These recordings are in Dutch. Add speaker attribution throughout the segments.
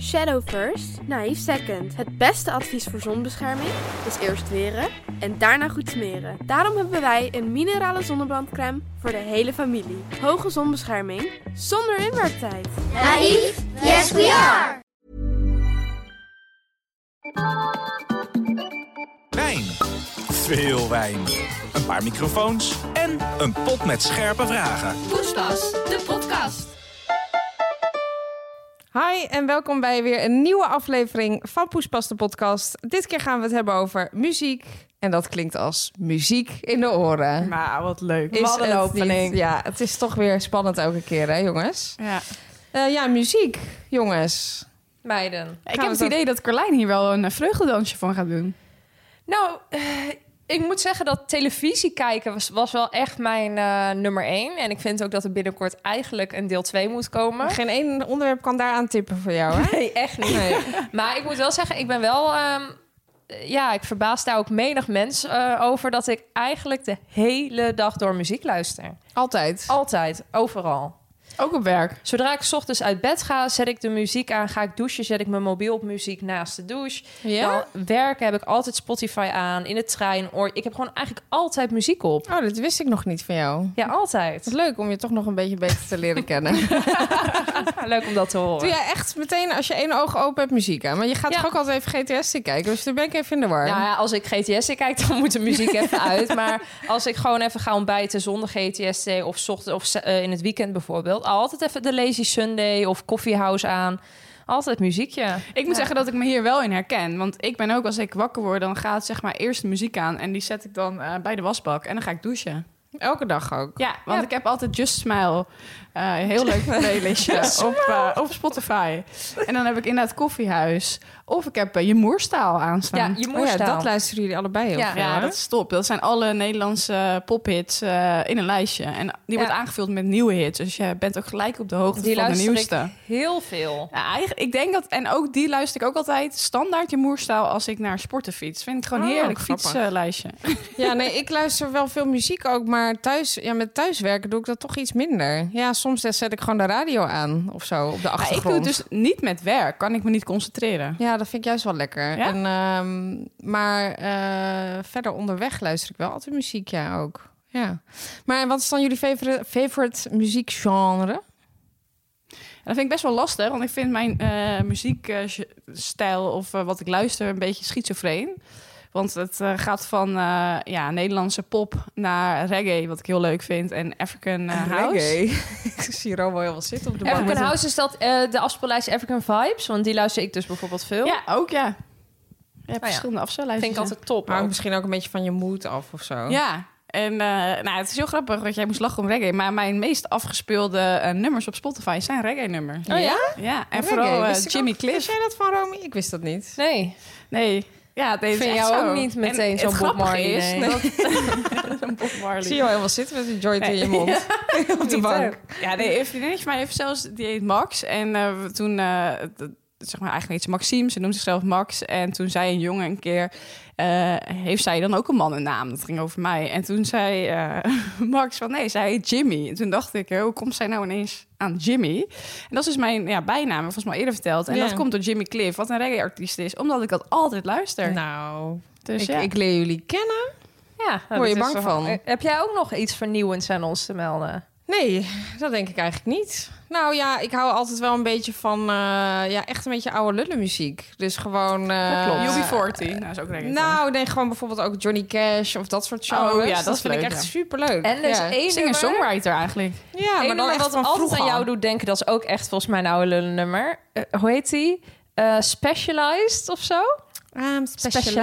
Speaker 1: Shadow first, naïef second. Het beste advies voor zonbescherming is eerst weren en daarna goed smeren. Daarom hebben wij een minerale zonnebrandcrème voor de hele familie. Hoge zonbescherming zonder inwerktijd.
Speaker 2: Naïef? Yes, we are!
Speaker 3: Wijn. Veel wijn. Een paar microfoons en een pot met scherpe vragen.
Speaker 4: Poespas, de podcast.
Speaker 5: Hi en welkom bij weer een nieuwe aflevering van Poespas de podcast. Dit keer gaan we het hebben over muziek. En dat klinkt als muziek in de oren.
Speaker 6: Maar wat leuk.
Speaker 5: Is
Speaker 6: wat een
Speaker 5: het
Speaker 6: opening.
Speaker 5: niet- ja, het is toch weer spannend elke keer, hè jongens?
Speaker 6: Ja.
Speaker 5: Eh, ja, muziek, jongens.
Speaker 7: Meiden.
Speaker 6: Ik
Speaker 5: we
Speaker 6: heb het
Speaker 5: dat-
Speaker 6: idee dat Carlijn hier wel een eh, vreugdedansje van gaat doen.
Speaker 7: Nou, eh, ik moet zeggen dat televisie kijken was, was wel echt mijn eh, nummer één. En ik vind ook dat er binnenkort eigenlijk een deel 2 moet komen.
Speaker 5: Geen één onderwerp kan daaraan tippen voor jou, hè?
Speaker 7: Nee, echt niet.
Speaker 5: Nee.
Speaker 7: Maar ik moet wel zeggen, ik ben wel... ehm, eh, ja, ik verbaas daar ook menig mens eh, over... dat ik eigenlijk de hele dag door muziek luister.
Speaker 5: Altijd.
Speaker 7: Altijd, overal.
Speaker 6: Ook op werk.
Speaker 7: Zodra ik 's ochtends uit bed ga, zet ik de muziek aan, ga ik douchen, zet ik mijn mobiel op muziek naast de douche.
Speaker 5: Ja?
Speaker 7: Dan werken heb ik altijd Spotify aan, in de trein. Or, ik heb gewoon eigenlijk altijd muziek op.
Speaker 5: Oh, dat wist ik nog niet van jou.
Speaker 7: Ja,
Speaker 5: Het
Speaker 7: altijd.
Speaker 5: is leuk om je toch nog een beetje beter te leren kennen.
Speaker 7: Leuk om dat te horen.
Speaker 5: Doe jij echt meteen als je één oog open hebt muziek aan? Maar je gaat
Speaker 7: Ja.
Speaker 5: toch ook altijd even GTS kijken? Dus daar ben ik even in de war.
Speaker 7: Nou ja, als ik GTS kijk, dan moet de muziek even uit. Maar als ik gewoon even ga ontbijten zonder GTS of, 's ochtend, of z- eh, in het weekend bijvoorbeeld, altijd even de Lazy Sunday of Coffee House aan. Altijd muziekje.
Speaker 6: Ik moet zeggen dat ik me hier wel in herken. Want ik ben ook, als ik wakker word, dan gaat zeg maar eerst de muziek aan. En die zet ik dan eh, bij de wasbak. En dan ga ik douchen.
Speaker 5: Elke dag ook.
Speaker 6: Ja, want ik heb altijd Just Smile. eh, heel leuk playlistje op, eh, op Spotify. En dan heb ik inderdaad Koffiehuis. Of ik heb eh, Je Moerstaal
Speaker 7: Ja,
Speaker 6: aanstaan.
Speaker 7: je
Speaker 5: Oh ja,
Speaker 7: moerstaal.
Speaker 5: dat luisteren jullie allebei heel
Speaker 7: Ja.
Speaker 5: veel.
Speaker 6: Ja,
Speaker 5: hè?
Speaker 6: dat is top. Dat zijn alle Nederlandse pophits eh, in een lijstje. En die
Speaker 7: Ja.
Speaker 6: wordt aangevuld met nieuwe hits. Dus je bent ook gelijk op de hoogte
Speaker 7: Die
Speaker 6: van de
Speaker 7: luister
Speaker 6: nieuwste.
Speaker 7: ik heel veel.
Speaker 6: Ja, eigenlijk, ik denk dat, en ook die luister ik ook altijd standaard je moerstaal als ik naar sporten fiets. Vind ik gewoon
Speaker 5: Oh,
Speaker 6: heerlijk
Speaker 5: grappig.
Speaker 6: fietslijstje.
Speaker 5: Ja, nee, ik luister wel veel muziek ook, maar thuis, ja, met thuiswerken doe ik dat toch iets minder. Ja, soms zet ik gewoon de radio aan of zo op de
Speaker 6: Maar ik
Speaker 5: achtergrond.
Speaker 6: doe het dus niet met werk, kan ik me niet concentreren.
Speaker 5: Ja, dat vind ik juist wel lekker.
Speaker 6: Ja?
Speaker 5: En, ehm, maar eh, verder onderweg luister ik wel altijd muziek, ja, ook. Ja. Maar wat is dan jullie favorite, favorite muziekgenre?
Speaker 6: En dat vind ik best wel lastig, want ik vind mijn eh, muziekstijl of eh, wat ik luister een beetje schizofreen. Want het eh, gaat van eh, ja, Nederlandse pop naar reggae, wat ik heel leuk vind, en African eh, house.
Speaker 5: ik zie Rome wel heel wat zitten op de bank.
Speaker 7: African House is dat eh, de afspeellijst African Vibes, want die luister ik dus bijvoorbeeld veel.
Speaker 6: Ja, ook ja. Je hebt
Speaker 7: Oh ja.
Speaker 6: verschillende
Speaker 7: Dat
Speaker 6: afspeellijsten.
Speaker 7: vind ik altijd top.
Speaker 5: Maar
Speaker 7: ook.
Speaker 5: misschien ook een beetje van je moed af of zo.
Speaker 6: Ja, en eh, nou, het is heel grappig, want jij moest lachen om reggae. Maar mijn meest afgespeelde eh, nummers op Spotify zijn reggae-nummers.
Speaker 7: Oh ja?
Speaker 6: Ja, en
Speaker 5: Reggae,
Speaker 6: vooral eh,
Speaker 5: wist ik
Speaker 6: Jimmy
Speaker 5: ook. Wist
Speaker 6: Cliff.
Speaker 5: jij dat van Romy? Ik wist dat niet.
Speaker 7: Nee.
Speaker 6: Nee, ja, deze
Speaker 7: Vind
Speaker 6: is echt
Speaker 7: jou
Speaker 6: zo.
Speaker 7: ook niet meteen
Speaker 6: En
Speaker 7: zo'n
Speaker 6: het
Speaker 7: Bob
Speaker 6: grappige
Speaker 7: Marley,
Speaker 6: is
Speaker 7: nee.
Speaker 6: dat- Zo'n Bob Marley.
Speaker 5: Ik zie je al helemaal zitten met een joint in je mond. op de
Speaker 6: Niet
Speaker 5: bank.
Speaker 6: ook. Ja, nee, een vriendinnetje van mij heeft zelfs, die heet Max. En eh, we- toen, eh, dat- zeg maar eigenlijk heet ze Maxime, ze noemt zichzelf Max. En toen zei een jongen een keer, eh, heeft zij dan ook een mannennaam? Dat ging over mij. En toen zei eh, Max van, nee, zij heet Jimmy. En toen dacht ik, eh, hoe komt zij nou ineens aan Jimmy? En dat is dus mijn ja, bijnaam, volgens mij eerder verteld. En
Speaker 5: Ja.
Speaker 6: dat komt door Jimmy Cliff, wat een reggae-artiest is. Omdat ik dat altijd luister.
Speaker 5: Nou,
Speaker 6: dus
Speaker 5: ik,
Speaker 6: ja.
Speaker 5: ik leer jullie kennen.
Speaker 7: Ja, nou,
Speaker 5: Word je
Speaker 7: dat is
Speaker 5: bang
Speaker 7: toch-
Speaker 5: van?
Speaker 7: Eh, Heb jij ook nog iets vernieuwends aan ons te melden?
Speaker 5: Nee, dat denk ik eigenlijk niet. Nou ja, ik hou altijd wel een beetje van... eh, ja, echt een beetje oude lullenmuziek. Dus gewoon... eh,
Speaker 6: UB40, nou is ook reggae.
Speaker 5: Nou, nee, gewoon bijvoorbeeld ook Johnny Cash of dat soort genres.
Speaker 6: Oh ja, dat
Speaker 5: dat
Speaker 6: is
Speaker 5: vind ik
Speaker 6: leuk,
Speaker 5: echt
Speaker 6: ja. dus
Speaker 5: superleuk.
Speaker 7: En er is
Speaker 5: ja.
Speaker 7: één nummer,
Speaker 6: Singer-songwriter eigenlijk.
Speaker 5: Ja,
Speaker 7: één
Speaker 5: maar dan
Speaker 7: nummer
Speaker 5: echt
Speaker 7: wat
Speaker 5: van
Speaker 7: altijd
Speaker 5: vroeger.
Speaker 7: aan jou doet denken, dat is ook echt volgens mij een oude lullen nummer. Eh, hoe heet die? Eh, specialized of zo?
Speaker 5: I'm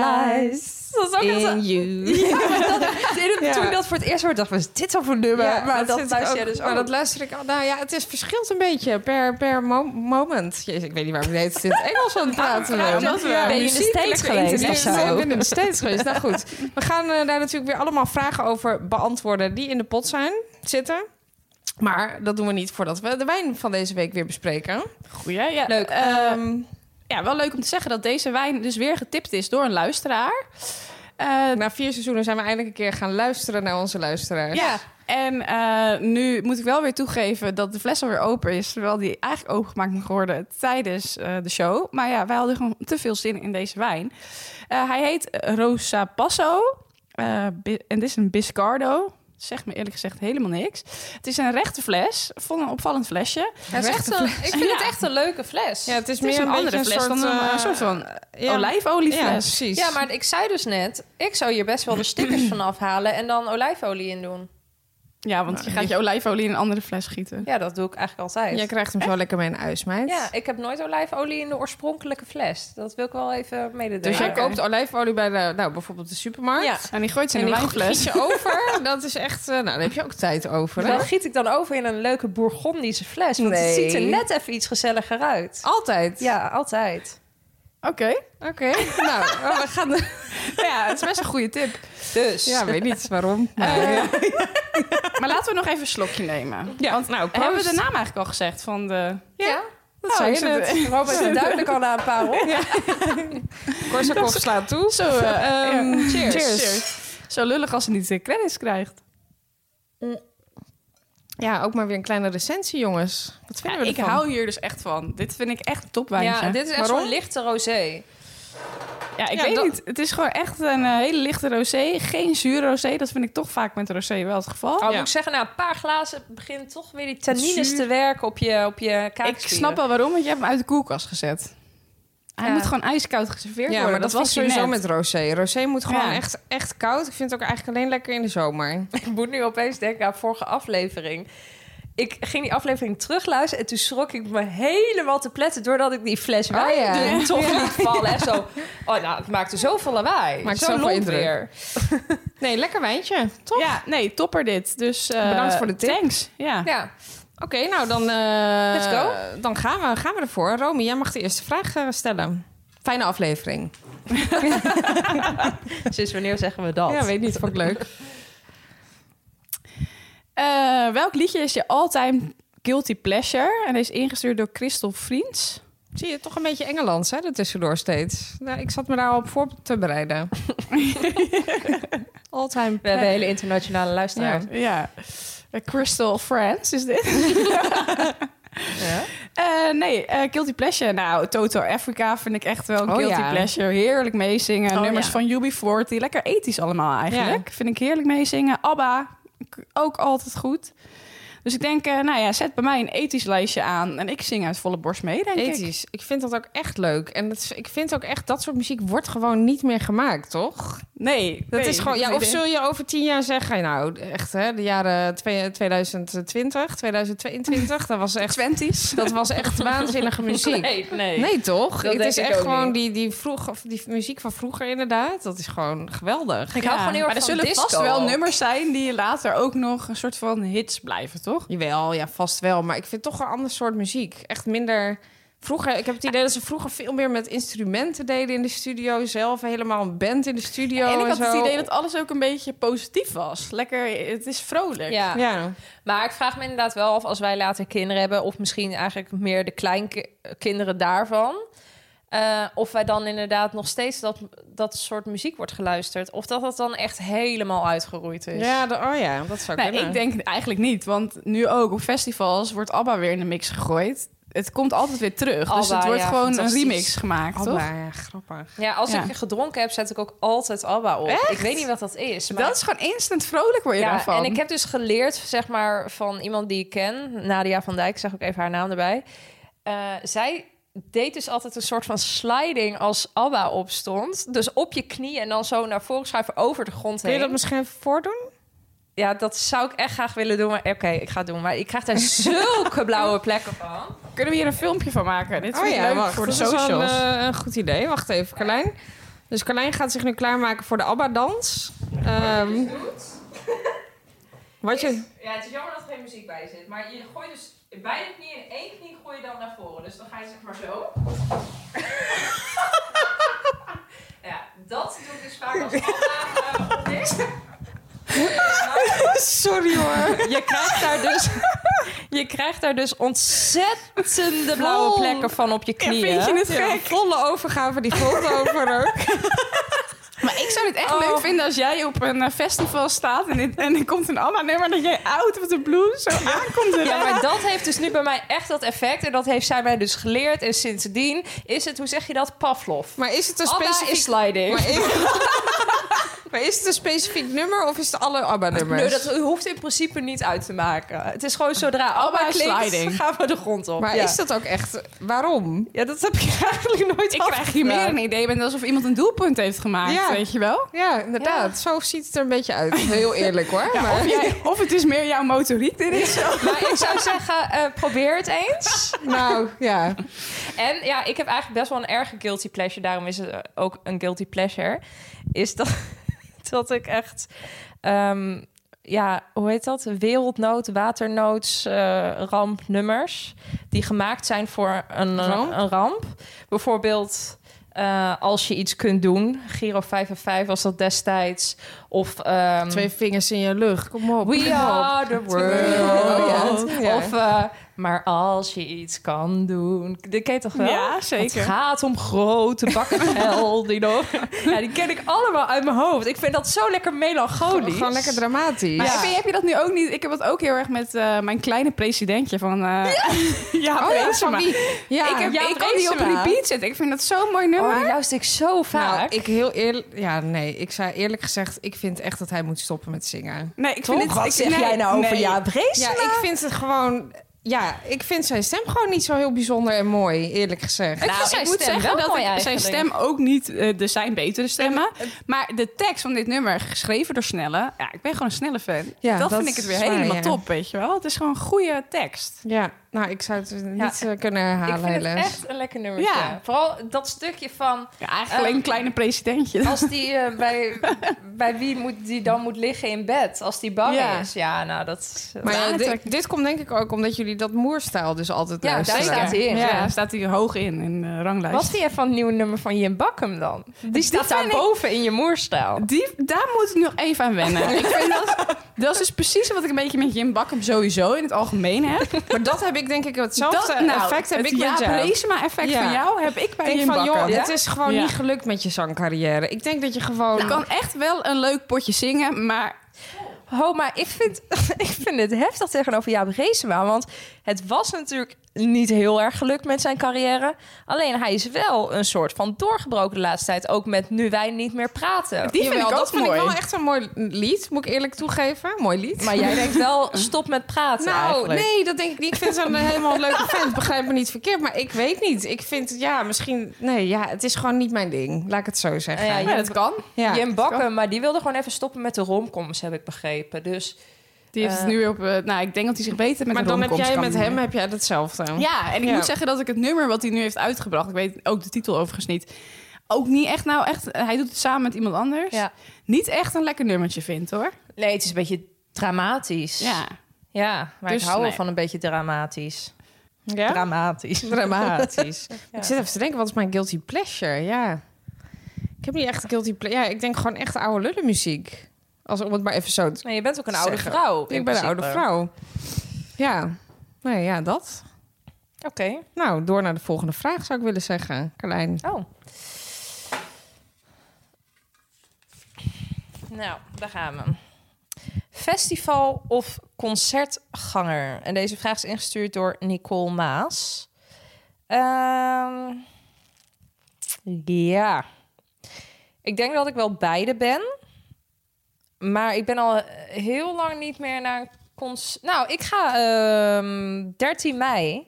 Speaker 7: Specialized. Dat is ook echt
Speaker 5: in
Speaker 7: een-
Speaker 5: you.
Speaker 7: Toen
Speaker 5: Ja.
Speaker 7: ik dat voor het eerst hoorde, dacht ik, wat is dit dan voor nummer?
Speaker 5: Ja,
Speaker 7: maar dat
Speaker 5: zit
Speaker 7: luister jij dus ook.
Speaker 5: Maar dat luister ik al. Nou ja, het is verschilt een beetje per, per mo- moment. Jezus, ik weet niet waar we dit dit Engels aan het
Speaker 7: Nou,
Speaker 5: praten
Speaker 6: Ja,
Speaker 5: zijn.
Speaker 6: omdat we Ben
Speaker 7: je in de
Speaker 5: muziek
Speaker 7: States
Speaker 5: lekker
Speaker 7: geweest
Speaker 5: internet-
Speaker 7: of zo?
Speaker 5: Nee, Ik ben in de States geweest. Nou goed, we gaan eh, daar natuurlijk weer allemaal vragen over beantwoorden die in de pot zijn zitten. Maar dat doen we niet voordat we de wijn van deze week weer bespreken.
Speaker 6: Goeie, ja.
Speaker 7: Leuk.
Speaker 6: Ehm, ja, wel leuk om te zeggen dat deze wijn dus weer getipt is door een luisteraar. Eh,
Speaker 5: Na vier seizoenen zijn we eindelijk een keer gaan luisteren naar onze luisteraars.
Speaker 6: ja, En eh, nu moet ik wel weer toegeven dat de fles alweer open is. Terwijl die eigenlijk opengemaakt mag worden tijdens eh, de show. Maar ja, wij hadden gewoon te veel zin in deze wijn. Eh, hij heet Rosa Passo. Eh, bi- en dit is een Biscardo. Zegt me eerlijk gezegd helemaal niks. Het is een rechte fles. Vond een opvallend flesje.
Speaker 7: Het is echt een, ik vind het echt een leuke fles.
Speaker 5: Ja, het is
Speaker 6: Het is
Speaker 5: meer een
Speaker 6: een,
Speaker 5: beetje
Speaker 6: andere
Speaker 5: een
Speaker 6: fles
Speaker 5: soort,
Speaker 6: dan een,
Speaker 5: eh,
Speaker 6: een soort van
Speaker 5: ja. Ja,
Speaker 6: olijfoliefles.
Speaker 5: precies.
Speaker 7: Ja, maar ik zei dus net, ik zou hier best wel de stickers van afhalen en dan olijfolie in doen.
Speaker 6: Ja, want je gaat je olijfolie in een andere fles gieten.
Speaker 7: Ja, dat doe ik eigenlijk altijd.
Speaker 5: Jij krijgt hem zo lekker mee in huis, meid.
Speaker 7: Ja, ik heb nooit olijfolie in de oorspronkelijke fles. Dat wil ik wel even mededelen.
Speaker 5: Dus jij
Speaker 6: Oké.
Speaker 5: koopt olijfolie bij de, nou, bijvoorbeeld de supermarkt.
Speaker 7: Ja.
Speaker 6: En die gooit ze in
Speaker 5: En
Speaker 6: een
Speaker 5: die giet
Speaker 6: wijnfles.
Speaker 5: je over. Dat is echt... eh, nou, daar heb je ook tijd over, hè?
Speaker 7: Dan giet ik dan over in een leuke Bourgondische fles. Want het
Speaker 5: Nee.
Speaker 7: ziet er net even iets gezelliger uit.
Speaker 5: Altijd.
Speaker 7: Ja, altijd.
Speaker 6: Oké.
Speaker 5: Oké. nou, oh, we gaan...
Speaker 6: Ja, het is best een goede tip.
Speaker 7: Dus.
Speaker 5: Ja, weet niet waarom.
Speaker 6: Maar laten we nog even een slokje nemen.
Speaker 5: ja, want, nou,
Speaker 6: Hebben we de
Speaker 5: proost.
Speaker 6: naam eigenlijk al gezegd van de...
Speaker 7: Ja,
Speaker 5: Dat
Speaker 6: Oh,
Speaker 5: zei je
Speaker 6: ik zit-
Speaker 5: net.
Speaker 7: Robert is duidelijk al na een paar op.
Speaker 5: Korsakoff slaat toe.
Speaker 6: Zo, eh,
Speaker 5: Ehm,
Speaker 6: ja.
Speaker 5: cheers.
Speaker 6: Zo lullig als ze niet de credits krijgt.
Speaker 5: Ja, ook maar weer een kleine recensie, jongens. Wat vinden we
Speaker 6: ik
Speaker 5: ervan?
Speaker 6: hou hier dus echt van. Dit vind ik echt een topwijntje.
Speaker 7: Ja, dit is echt
Speaker 5: Waarom?
Speaker 7: zo'n lichte rosé.
Speaker 6: Ja, ik
Speaker 5: Ja,
Speaker 6: weet
Speaker 5: dat-
Speaker 6: niet. Het is gewoon echt een eh, hele lichte rosé. Geen zure rosé. Dat vind ik toch vaak met rosé wel het geval.
Speaker 7: Al
Speaker 5: Ja.
Speaker 7: Oh, moet ik zeggen, na een paar glazen begint toch weer die tannines
Speaker 6: Zuur.
Speaker 7: te werken op je, op je
Speaker 6: ik snap wel waarom, want je hebt hem uit de koelkast gezet. Hij
Speaker 7: Ja.
Speaker 6: moet gewoon ijskoud geserveerd
Speaker 5: Ja,
Speaker 6: worden.
Speaker 5: maar dat, was
Speaker 6: hij
Speaker 5: sowieso
Speaker 6: net.
Speaker 5: met rosé. Rosé moet gewoon
Speaker 6: Ja.
Speaker 5: echt, echt koud. Ik vind het ook eigenlijk alleen lekker in de zomer.
Speaker 7: Ik moet nu opeens denken aan vorige aflevering. Ik ging die aflevering terugluisteren en toen schrok ik me helemaal te pletten doordat ik die fles wijn
Speaker 5: Oh, ja.
Speaker 7: erin toch liet vallen. En zo, oh nou, het maakte zoveel lawaai.
Speaker 5: Maakt
Speaker 7: zo
Speaker 5: zoveel
Speaker 7: lomp
Speaker 5: indruk.
Speaker 7: weer.
Speaker 5: Nee, lekker wijntje. Toch?
Speaker 6: Ja, nee, topper dit. Dus eh,
Speaker 5: Bedankt voor de tip.
Speaker 6: Thanks. Ja.
Speaker 7: Ja,
Speaker 5: Oké, nou dan... eh,
Speaker 7: Let's go.
Speaker 5: Dan gaan we, gaan we ervoor. Romy, jij mag de eerste vraag eh, stellen. Fijne aflevering.
Speaker 7: sinds wanneer zeggen we dat?
Speaker 5: Ja, weet niet. Vond ik leuk.
Speaker 6: Eh, welk liedje is je all-time guilty pleasure? En deze is ingestuurd door Christel Vriends.
Speaker 5: Zie je, toch een beetje Engelands, hè, er tussendoor steeds. Nou, ik zat me daar al op voor te bereiden. All time.
Speaker 7: We hebben hele internationale
Speaker 6: Ja,
Speaker 7: luisteraars.
Speaker 6: ja. Eh, Crystal Friends is dit.
Speaker 7: Ja.
Speaker 6: Eh, nee, eh Guilty Pleasure. Nou, Toto Africa vind ik echt wel een
Speaker 5: Oh,
Speaker 6: Guilty
Speaker 5: ja.
Speaker 6: Pleasure. Heerlijk meezingen.
Speaker 5: Oh,
Speaker 6: Nummers
Speaker 5: ja.
Speaker 6: van UB40. Lekker ethisch allemaal eigenlijk. Vind ik heerlijk meezingen. ABBA, k- ook altijd goed. Dus ik denk, eh, nou ja, zet bij mij een ethisch lijstje aan. En ik zing uit volle borst mee, denk ik.
Speaker 5: Ethisch. Ik vind dat ook echt leuk. En dat is- ik vind ook echt, dat soort muziek wordt gewoon niet meer gemaakt, toch?
Speaker 6: Nee,
Speaker 5: Dat
Speaker 6: nee,
Speaker 5: is gewoon, ja,
Speaker 6: nee,
Speaker 5: of zul je over tien jaar zeggen, nou, echt hè, de jaren twee- 2020, 2022, dat was echt,
Speaker 6: Twenties.
Speaker 5: dat was echt waanzinnige muziek.
Speaker 7: Nee, nee.
Speaker 5: Nee, toch?
Speaker 7: Dat
Speaker 5: het
Speaker 7: denk
Speaker 5: is
Speaker 7: ik
Speaker 5: echt
Speaker 7: ook
Speaker 5: gewoon
Speaker 7: niet.
Speaker 5: die, die, vroeg, of die muziek van vroeger inderdaad. Dat is gewoon geweldig.
Speaker 7: Ik hou gewoon heel erg
Speaker 6: maar er
Speaker 7: van
Speaker 6: zullen
Speaker 7: disco
Speaker 6: vast wel
Speaker 7: ook.
Speaker 6: nummers zijn die later ook nog een soort van hits blijven, toch?
Speaker 5: Jawel, ja, vast wel. Maar ik vind toch een ander soort muziek. Echt minder... Vroeger, ik heb het idee dat ze vroeger veel meer met instrumenten deden in de studio. Zelf helemaal een band in de studio
Speaker 6: en ik had
Speaker 5: zo.
Speaker 6: het idee dat alles ook een beetje positief was. Lekker, het is vrolijk.
Speaker 7: Ja.
Speaker 5: Ja,
Speaker 7: Maar ik vraag me inderdaad wel af als wij later kinderen hebben, of misschien eigenlijk meer de kleinkinderen daarvan. eh, of wij dan inderdaad nog steeds dat, dat soort muziek wordt geluisterd. Of dat dat dan echt helemaal uitgeroeid is.
Speaker 5: ja de- oh ja, dat zou
Speaker 6: Nee,
Speaker 5: kunnen.
Speaker 6: ik denk eigenlijk niet, want nu ook op festivals wordt ABBA weer in de mix gegooid. Het komt altijd weer terug, dus
Speaker 7: ABBA,
Speaker 6: het wordt
Speaker 7: ja,
Speaker 6: gewoon een
Speaker 7: fantastisch.
Speaker 6: remix gemaakt,
Speaker 5: Oh,
Speaker 6: toch?
Speaker 5: ja, grappig.
Speaker 7: Ja, als
Speaker 6: Ja.
Speaker 7: ik gedronken heb, zet ik ook altijd ABBA op. Ik weet niet wat dat is. Maar...
Speaker 6: Dat is gewoon instant vrolijk word je
Speaker 7: ja,
Speaker 6: daarvan.
Speaker 7: en ik heb dus geleerd, zeg maar, van iemand die ik ken, Nadia van Dijk, zeg ook even haar naam erbij. Eh, zij deed dus altijd een soort van sliding als Abba opstond. Dus op je knie en dan zo naar voren schuiven over de grond
Speaker 5: Kun je
Speaker 7: heen.
Speaker 5: dat misschien even voordoen?
Speaker 7: Ja, dat zou ik echt graag willen doen. Maar oké, ik ga het doen. Maar ik krijg daar zulke
Speaker 5: Oh.
Speaker 7: blauwe plekken van.
Speaker 6: Kunnen we hier een filmpje van maken? Dit vind ik leuk voor de
Speaker 5: dat is wel
Speaker 6: socials.
Speaker 5: Een, eh, een goed idee. Wacht even, Carlijn. Dus Carlijn gaat zich nu klaarmaken voor de ABBA-dans. Ehm, wat je...
Speaker 7: Ja, het is jammer dat er geen muziek bij zit. Maar je gooit dus beide knieën in één knie gooi je dan naar voren. Dus dan ga je zeg maar zo. ja, dat doe ik dus vaak als eh, afdagen op niks.
Speaker 5: Sorry hoor.
Speaker 7: Je krijgt daar dus... Je krijgt daar dus ontzettende blauwe plekken van op je knieën.
Speaker 5: Vind je het gek? Volle overgave die grond over ook.
Speaker 6: Maar ik zou het echt
Speaker 7: Oh.
Speaker 6: leuk vinden als jij op een eh, festival staat en, dit- en er komt een ABBA-nummer dat jij oud met een blouse zo aankomt.
Speaker 7: Ja, maar dat heeft dus nu bij mij echt dat effect. En dat heeft zij mij dus geleerd. En sindsdien is het, hoe zeg je dat, Pavlov.
Speaker 5: Maar is het een
Speaker 7: Abba
Speaker 5: specifiek...
Speaker 7: is sliding.
Speaker 5: Maar is, maar is het een specifiek nummer of is het alle ABBA-nummers?
Speaker 7: Nee, dat hoeft in principe niet uit te maken. Het is gewoon zodra Abba
Speaker 6: Abba is
Speaker 7: klinkt,
Speaker 6: sliding.
Speaker 7: gaan we de grond op.
Speaker 5: Maar
Speaker 7: ja.
Speaker 5: is dat ook echt... Waarom?
Speaker 7: ja, dat heb ik eigenlijk nooit
Speaker 6: Ik krijg hier meer
Speaker 7: afgevraagd.
Speaker 6: een idee bent alsof iemand een doelpunt heeft gemaakt,
Speaker 5: Ja.
Speaker 6: Ah, weet je wel?
Speaker 5: Ja, inderdaad. Zo ziet het er een beetje uit. Heel eerlijk hoor. maar...
Speaker 6: Of, jij, of het is meer jouw motoriek dit is.
Speaker 7: Maar ik zou zeggen, eh, probeer het eens.
Speaker 5: Nou, ja.
Speaker 7: En ja, ik heb eigenlijk best wel een erge guilty pleasure. Daarom is het eh, ook een guilty pleasure. Is dat, dat ik echt... ehm, ja, hoe heet dat? Wereldnood, waternood, rampnummers. Die gemaakt zijn voor een eh,
Speaker 5: Ramp?
Speaker 7: Een ramp. Bijvoorbeeld... eh, als je iets kunt doen. Giro 5 en 5 was dat destijds. Of ehm,
Speaker 5: Twee vingers in je lucht. Kom op.
Speaker 7: We are the world.
Speaker 5: Oh, ja. Ja.
Speaker 7: Of, eh, maar als je iets kan doen. Dit ken je toch wel?
Speaker 6: Ja, zeker.
Speaker 7: Het gaat om grote bakken geld. die nog- ja, die ken ik allemaal uit mijn hoofd. Ik vind dat zo lekker melancholisch.
Speaker 5: Gewoon lekker dramatisch.
Speaker 6: Maar heb, je, heb je dat nu ook niet? Ik heb dat ook heel erg met eh, mijn kleine presidentje van... eh, ja,
Speaker 5: Oh ja,
Speaker 6: Beesema.
Speaker 5: van wie? Ja.
Speaker 6: Ik, heb,
Speaker 7: Ja,
Speaker 6: ik kan die op
Speaker 7: Beesema.
Speaker 6: repeat zetten. Ik vind dat zo'n mooi nummer.
Speaker 7: Oh, die luister ik zo vaak.
Speaker 5: Nou, ik heel eerlijk... Ja, nee. Ik zei eerlijk gezegd... Ik vind echt dat hij moet stoppen met zingen.
Speaker 6: Nee, ik vind het, ik, nee, nee.
Speaker 5: Ja, ik vind het gewoon... Ja, ik vind zijn stem gewoon niet zo heel bijzonder en mooi, eerlijk gezegd.
Speaker 6: Ik,
Speaker 7: Nou,
Speaker 6: vind zijn
Speaker 7: ik moet
Speaker 6: stem
Speaker 7: zeggen
Speaker 6: wel
Speaker 7: dat
Speaker 6: mooi
Speaker 7: ik-
Speaker 6: zijn
Speaker 7: eigenlijk.
Speaker 6: stem ook niet... eh, er zijn betere stemmen. Maar de tekst van dit nummer, geschreven door Snelle... Ja, ik ben gewoon een Snelle fan.
Speaker 5: Ja,
Speaker 6: dat,
Speaker 5: dat
Speaker 6: vind ik het weer
Speaker 5: is waar,
Speaker 6: helemaal
Speaker 5: ja.
Speaker 6: top, weet je wel. Het is gewoon een goede tekst.
Speaker 5: Ja, nou, ik zou het niet
Speaker 7: Ja.
Speaker 5: eh, kunnen
Speaker 7: Ik
Speaker 5: herhalen,
Speaker 7: vind het
Speaker 5: helaas.
Speaker 7: echt een lekker nummertje.
Speaker 6: Ja.
Speaker 7: Vooral dat stukje van...
Speaker 6: Ja, eigenlijk alleen een kleine presidentje.
Speaker 7: Als die eh, bij, bij wie moet die dan moet liggen in bed? Als die bang
Speaker 6: Ja.
Speaker 7: is. Ja, nou, dat...
Speaker 5: Maar ja,
Speaker 6: Ja,
Speaker 5: dit,
Speaker 6: trek-
Speaker 5: dit komt denk ik ook omdat jullie dat moerstijl dus altijd
Speaker 7: Ja, daar
Speaker 5: luisteren.
Speaker 7: staat hij in.
Speaker 6: Ja,
Speaker 7: Ja.
Speaker 6: staat hij hoog in, in de ranglijst.
Speaker 7: Wat vind jij van het nieuwe nummer van Jim Bakkum dan? Die, staat daar
Speaker 6: vind ik-
Speaker 7: boven in je moerstijl.
Speaker 6: Die, daar moet ik nog even aan wennen. ik vind dat, dat is dus precies wat ik een beetje met Jim Bakkum sowieso in het algemeen heb.
Speaker 5: Maar dat heb ik denk ik hetzelfde
Speaker 6: Dat- nou,
Speaker 5: effect heb
Speaker 6: het
Speaker 5: ik met
Speaker 6: Jaap
Speaker 5: jou.
Speaker 6: Reesema effect
Speaker 5: Ja.
Speaker 6: van jou heb ik
Speaker 5: Ik
Speaker 6: bij
Speaker 5: denk
Speaker 6: Jim
Speaker 5: van,
Speaker 6: Bakkum.
Speaker 5: joh,
Speaker 6: Ja?
Speaker 5: het is gewoon
Speaker 6: Ja. Nou,
Speaker 5: niet gelukt met je zangcarrière. Ik denk dat je gewoon...
Speaker 6: Je kan echt wel een leuk potje zingen, maar
Speaker 7: Ho, maar ik vind, ik vind het heftig tegenover Jaap Reesema. Want het was natuurlijk niet heel erg gelukt met zijn carrière. Alleen hij is wel een soort van doorgebroken de laatste tijd. Ook met Nu Wij Niet Meer Praten.
Speaker 6: die vind
Speaker 5: Jawel,
Speaker 6: ik ook
Speaker 5: dat vind
Speaker 6: mooi.
Speaker 5: ik wel echt een mooi lied, moet ik eerlijk toegeven. Mooi lied.
Speaker 7: Maar jij denkt wel, stop met praten
Speaker 5: nou,
Speaker 7: eigenlijk.
Speaker 5: nee, dat denk ik niet. Ik vind het een helemaal leuke vent. Begrijp me niet verkeerd, maar ik weet niet. Ik vind het, ja, misschien... Nee, ja, het is gewoon niet mijn ding. Laat ik het zo zeggen.
Speaker 7: Ja,
Speaker 5: Ja,
Speaker 7: ja,
Speaker 6: Ja, dat kan.
Speaker 5: ja.
Speaker 7: Jim Bakken, maar die wilde gewoon even stoppen met de romcoms, heb ik begrepen. Dus
Speaker 6: Die heeft het nu weer op... eh, nou, ik denk dat hij zich beter met
Speaker 5: maar
Speaker 6: de
Speaker 5: dan heb
Speaker 6: romcoms
Speaker 5: jij
Speaker 6: kan
Speaker 5: met
Speaker 6: doen.
Speaker 5: hem heb jij hetzelfde.
Speaker 6: Ja, en ik
Speaker 5: Ja.
Speaker 6: moet zeggen dat ik het nummer wat hij nu heeft uitgebracht... Ik weet ook de titel overigens niet... Ook niet echt, nou echt... Hij doet het samen met iemand anders.
Speaker 7: ja.
Speaker 6: Niet echt een lekker nummertje vindt, hoor.
Speaker 7: Nee, het is een beetje dramatisch.
Speaker 6: Ja.
Speaker 7: Ja, maar
Speaker 6: Dus
Speaker 7: ik hou wel
Speaker 6: nee.
Speaker 7: van een beetje dramatisch.
Speaker 5: Ja?
Speaker 7: Dramatisch.
Speaker 5: Dramatisch.
Speaker 7: Ja.
Speaker 5: Ik zit even te denken, wat is mijn guilty pleasure? Ja. Ik heb niet echt guilty pleasure. Ja, ik denk gewoon echt oude lullenmuziek. Als, om het maar even zo te
Speaker 7: Nee, je bent ook een oude
Speaker 5: zeggen.
Speaker 7: vrouw.
Speaker 6: Oh,
Speaker 5: Ik
Speaker 7: in
Speaker 5: ben een
Speaker 7: principe.
Speaker 5: oude vrouw. Ja. Nee, ja, dat.
Speaker 7: Oké.
Speaker 5: Nou, door naar de volgende vraag zou ik willen zeggen, Carlijn.
Speaker 7: Oh. Nou, daar gaan we. Festival of concertganger? En deze vraag is ingestuurd door Nicole Maas. Ehm, ja. Ik denk dat ik wel beide ben. Maar ik ben al heel lang niet meer naar een cons. Nou, ik ga ehm 13 mei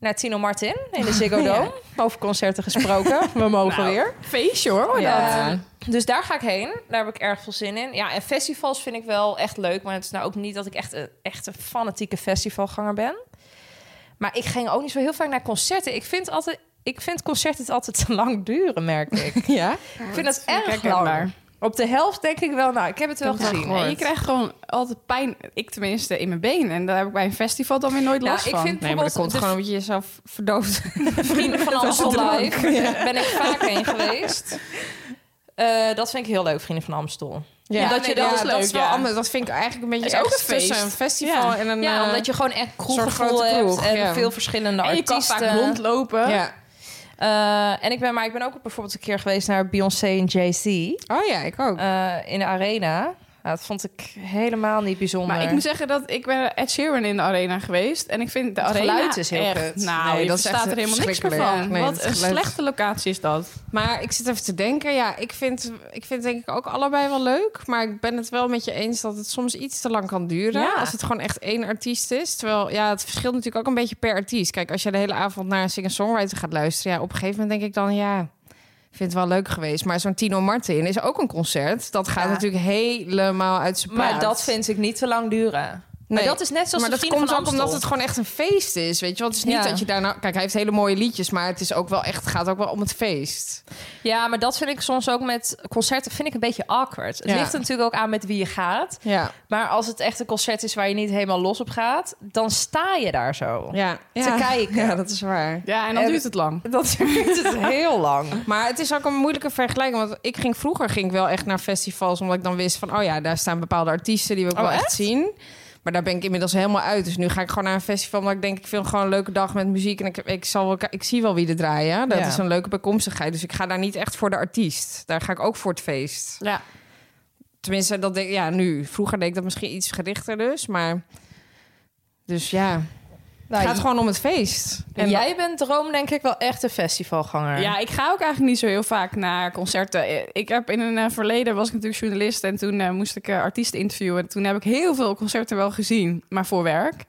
Speaker 7: naar Tino Martin in de Ziggo Dome. Over concerten gesproken. We mogen weer.
Speaker 6: Nou, Feestje, hoor.
Speaker 7: Ja. Dus daar ga ik heen. Daar heb ik erg veel zin in. Ja, en festivals vind ik wel echt leuk. Maar het is nou ook niet dat ik echt een, echt een fanatieke festivalganger ben. Maar ik ging ook niet zo heel vaak naar concerten. Ik vind, altijd, ik vind concerten altijd te lang duren, merk ik.
Speaker 5: Ja?
Speaker 7: ik vind dat
Speaker 6: ik
Speaker 7: erg
Speaker 6: herkenbaar.
Speaker 7: lang. Op de helft denk ik wel, nou, ik heb het wel gezien.
Speaker 6: Nee, je krijgt gewoon altijd pijn, ik tenminste, in mijn been. En daar heb ik bij een festival dan weer nooit
Speaker 7: Nou,
Speaker 6: last
Speaker 7: ik
Speaker 6: van.
Speaker 7: vind-
Speaker 5: Nee, maar dat komt
Speaker 7: Bijvoorbeeld de-
Speaker 5: gewoon omdat je jezelf verdooft.
Speaker 7: Vrienden van Amstel Live ben ik vaak heen geweest. Eh, dat vind ik heel leuk, Vrienden van Amstel.
Speaker 5: Ja,
Speaker 7: dat je- dat is
Speaker 5: Dat
Speaker 6: leuk,
Speaker 5: is wel
Speaker 6: ja.
Speaker 5: anders. Dat vind ik eigenlijk een beetje
Speaker 6: Het is ook
Speaker 5: ergens
Speaker 6: een feest.
Speaker 5: tussen een festival
Speaker 6: Ja.
Speaker 5: en een...
Speaker 7: Ja,
Speaker 5: eh,
Speaker 7: omdat je gewoon echt
Speaker 5: soort
Speaker 7: kroeggevoel
Speaker 5: grote
Speaker 7: hebt
Speaker 5: kroeg,
Speaker 7: en
Speaker 5: ja.
Speaker 7: veel verschillende
Speaker 6: en je Nou, kan
Speaker 7: artiesten.
Speaker 6: vaak rondlopen.
Speaker 5: Ja.
Speaker 7: Eh, en ik ben, maar ik ben ook bijvoorbeeld een keer geweest naar Beyoncé en Jay-Z
Speaker 5: Oh ja, ik ook.
Speaker 7: eh, in de arena. Nou, dat vond ik helemaal niet bijzonder.
Speaker 5: eh,
Speaker 6: Maar ik moet zeggen dat ik ben Ed Sheeran in de arena geweest. En ik vind de
Speaker 7: Het
Speaker 6: arena
Speaker 7: geluid is heel
Speaker 6: echt,
Speaker 7: kut.
Speaker 6: Nou,
Speaker 5: Nee,
Speaker 6: je
Speaker 5: dat is echt
Speaker 6: staat er helemaal niks meer
Speaker 5: verschrikkelijk.
Speaker 6: van.
Speaker 5: Nee,
Speaker 6: Wat
Speaker 5: het
Speaker 6: een
Speaker 5: geluid-
Speaker 6: slechte locatie is dat.
Speaker 5: Maar ik zit even te denken. Ja, ik vind, ik vind denk ik ook allebei wel leuk. Maar ik ben het wel met je eens dat het soms iets te lang kan duren.
Speaker 7: Ja.
Speaker 5: Als het gewoon echt één artiest is. Terwijl, ja, het verschilt natuurlijk ook een beetje per artiest. Kijk, als je de hele avond naar een singer-songwriter gaat luisteren... Ja, op een gegeven moment denk ik dan, ja, ik vind het wel leuk geweest. Maar zo'n Tino Martin is ook een concert. Dat gaat
Speaker 7: Ja.
Speaker 5: natuurlijk helemaal uit zijn
Speaker 7: Maar
Speaker 5: plaat.
Speaker 7: dat vind ik niet te lang duren. Maar
Speaker 5: Nee.
Speaker 7: dat is net zoals
Speaker 5: maar
Speaker 7: de
Speaker 5: dat
Speaker 7: Vrienden
Speaker 5: komt
Speaker 7: van
Speaker 5: ook omdat
Speaker 7: Amstel.
Speaker 5: het gewoon echt een feest is, weet je. Want het is niet
Speaker 7: Ja.
Speaker 5: dat je daar nou... Kijk, hij heeft hele mooie liedjes, maar het is ook wel echt, gaat ook wel om het feest.
Speaker 7: Ja, maar dat vind ik soms ook met concerten vind ik een beetje awkward. Het
Speaker 5: Ja.
Speaker 7: ligt er natuurlijk ook aan met wie je gaat.
Speaker 5: Ja,
Speaker 7: Maar als het echt een concert is waar je niet helemaal los op gaat, dan sta je daar zo.
Speaker 5: ja.
Speaker 7: Te kijken.
Speaker 5: Ja, dat is waar.
Speaker 6: Ja, en dan
Speaker 7: En-
Speaker 6: duurt het lang.
Speaker 7: Dat duurt het heel lang.
Speaker 5: Maar het is ook een moeilijke vergelijking. Want ik ging vroeger ging ik wel echt naar festivals. Omdat ik dan wist van, oh ja, daar staan bepaalde artiesten die we ook
Speaker 6: Oh,
Speaker 5: wel echt zien. Maar daar ben ik inmiddels helemaal uit. Dus nu ga ik gewoon naar een festival. Omdat ik denk, ik wil gewoon een leuke dag met muziek. En ik, ik, zal wel, ki- ik zie wel wie er draaien. Dat
Speaker 7: Ja.
Speaker 5: is een leuke bijkomstigheid. Dus ik ga daar niet echt voor de artiest. Daar ga ik ook voor het feest.
Speaker 6: Ja.
Speaker 5: Tenminste, dat denk ja, nu. Vroeger deed ik dat misschien iets gerichter dus. Maar, dus ja, het gaat gewoon om het feest.
Speaker 7: en jij bent droom denk ik wel echt een festivalganger.
Speaker 6: Ja, ik ga ook eigenlijk niet zo heel vaak naar concerten. Ik heb in een eh, verleden was ik natuurlijk journalist en toen eh, moest ik eh, artiesten interviewen. Toen heb ik heel veel concerten wel gezien, maar voor werk.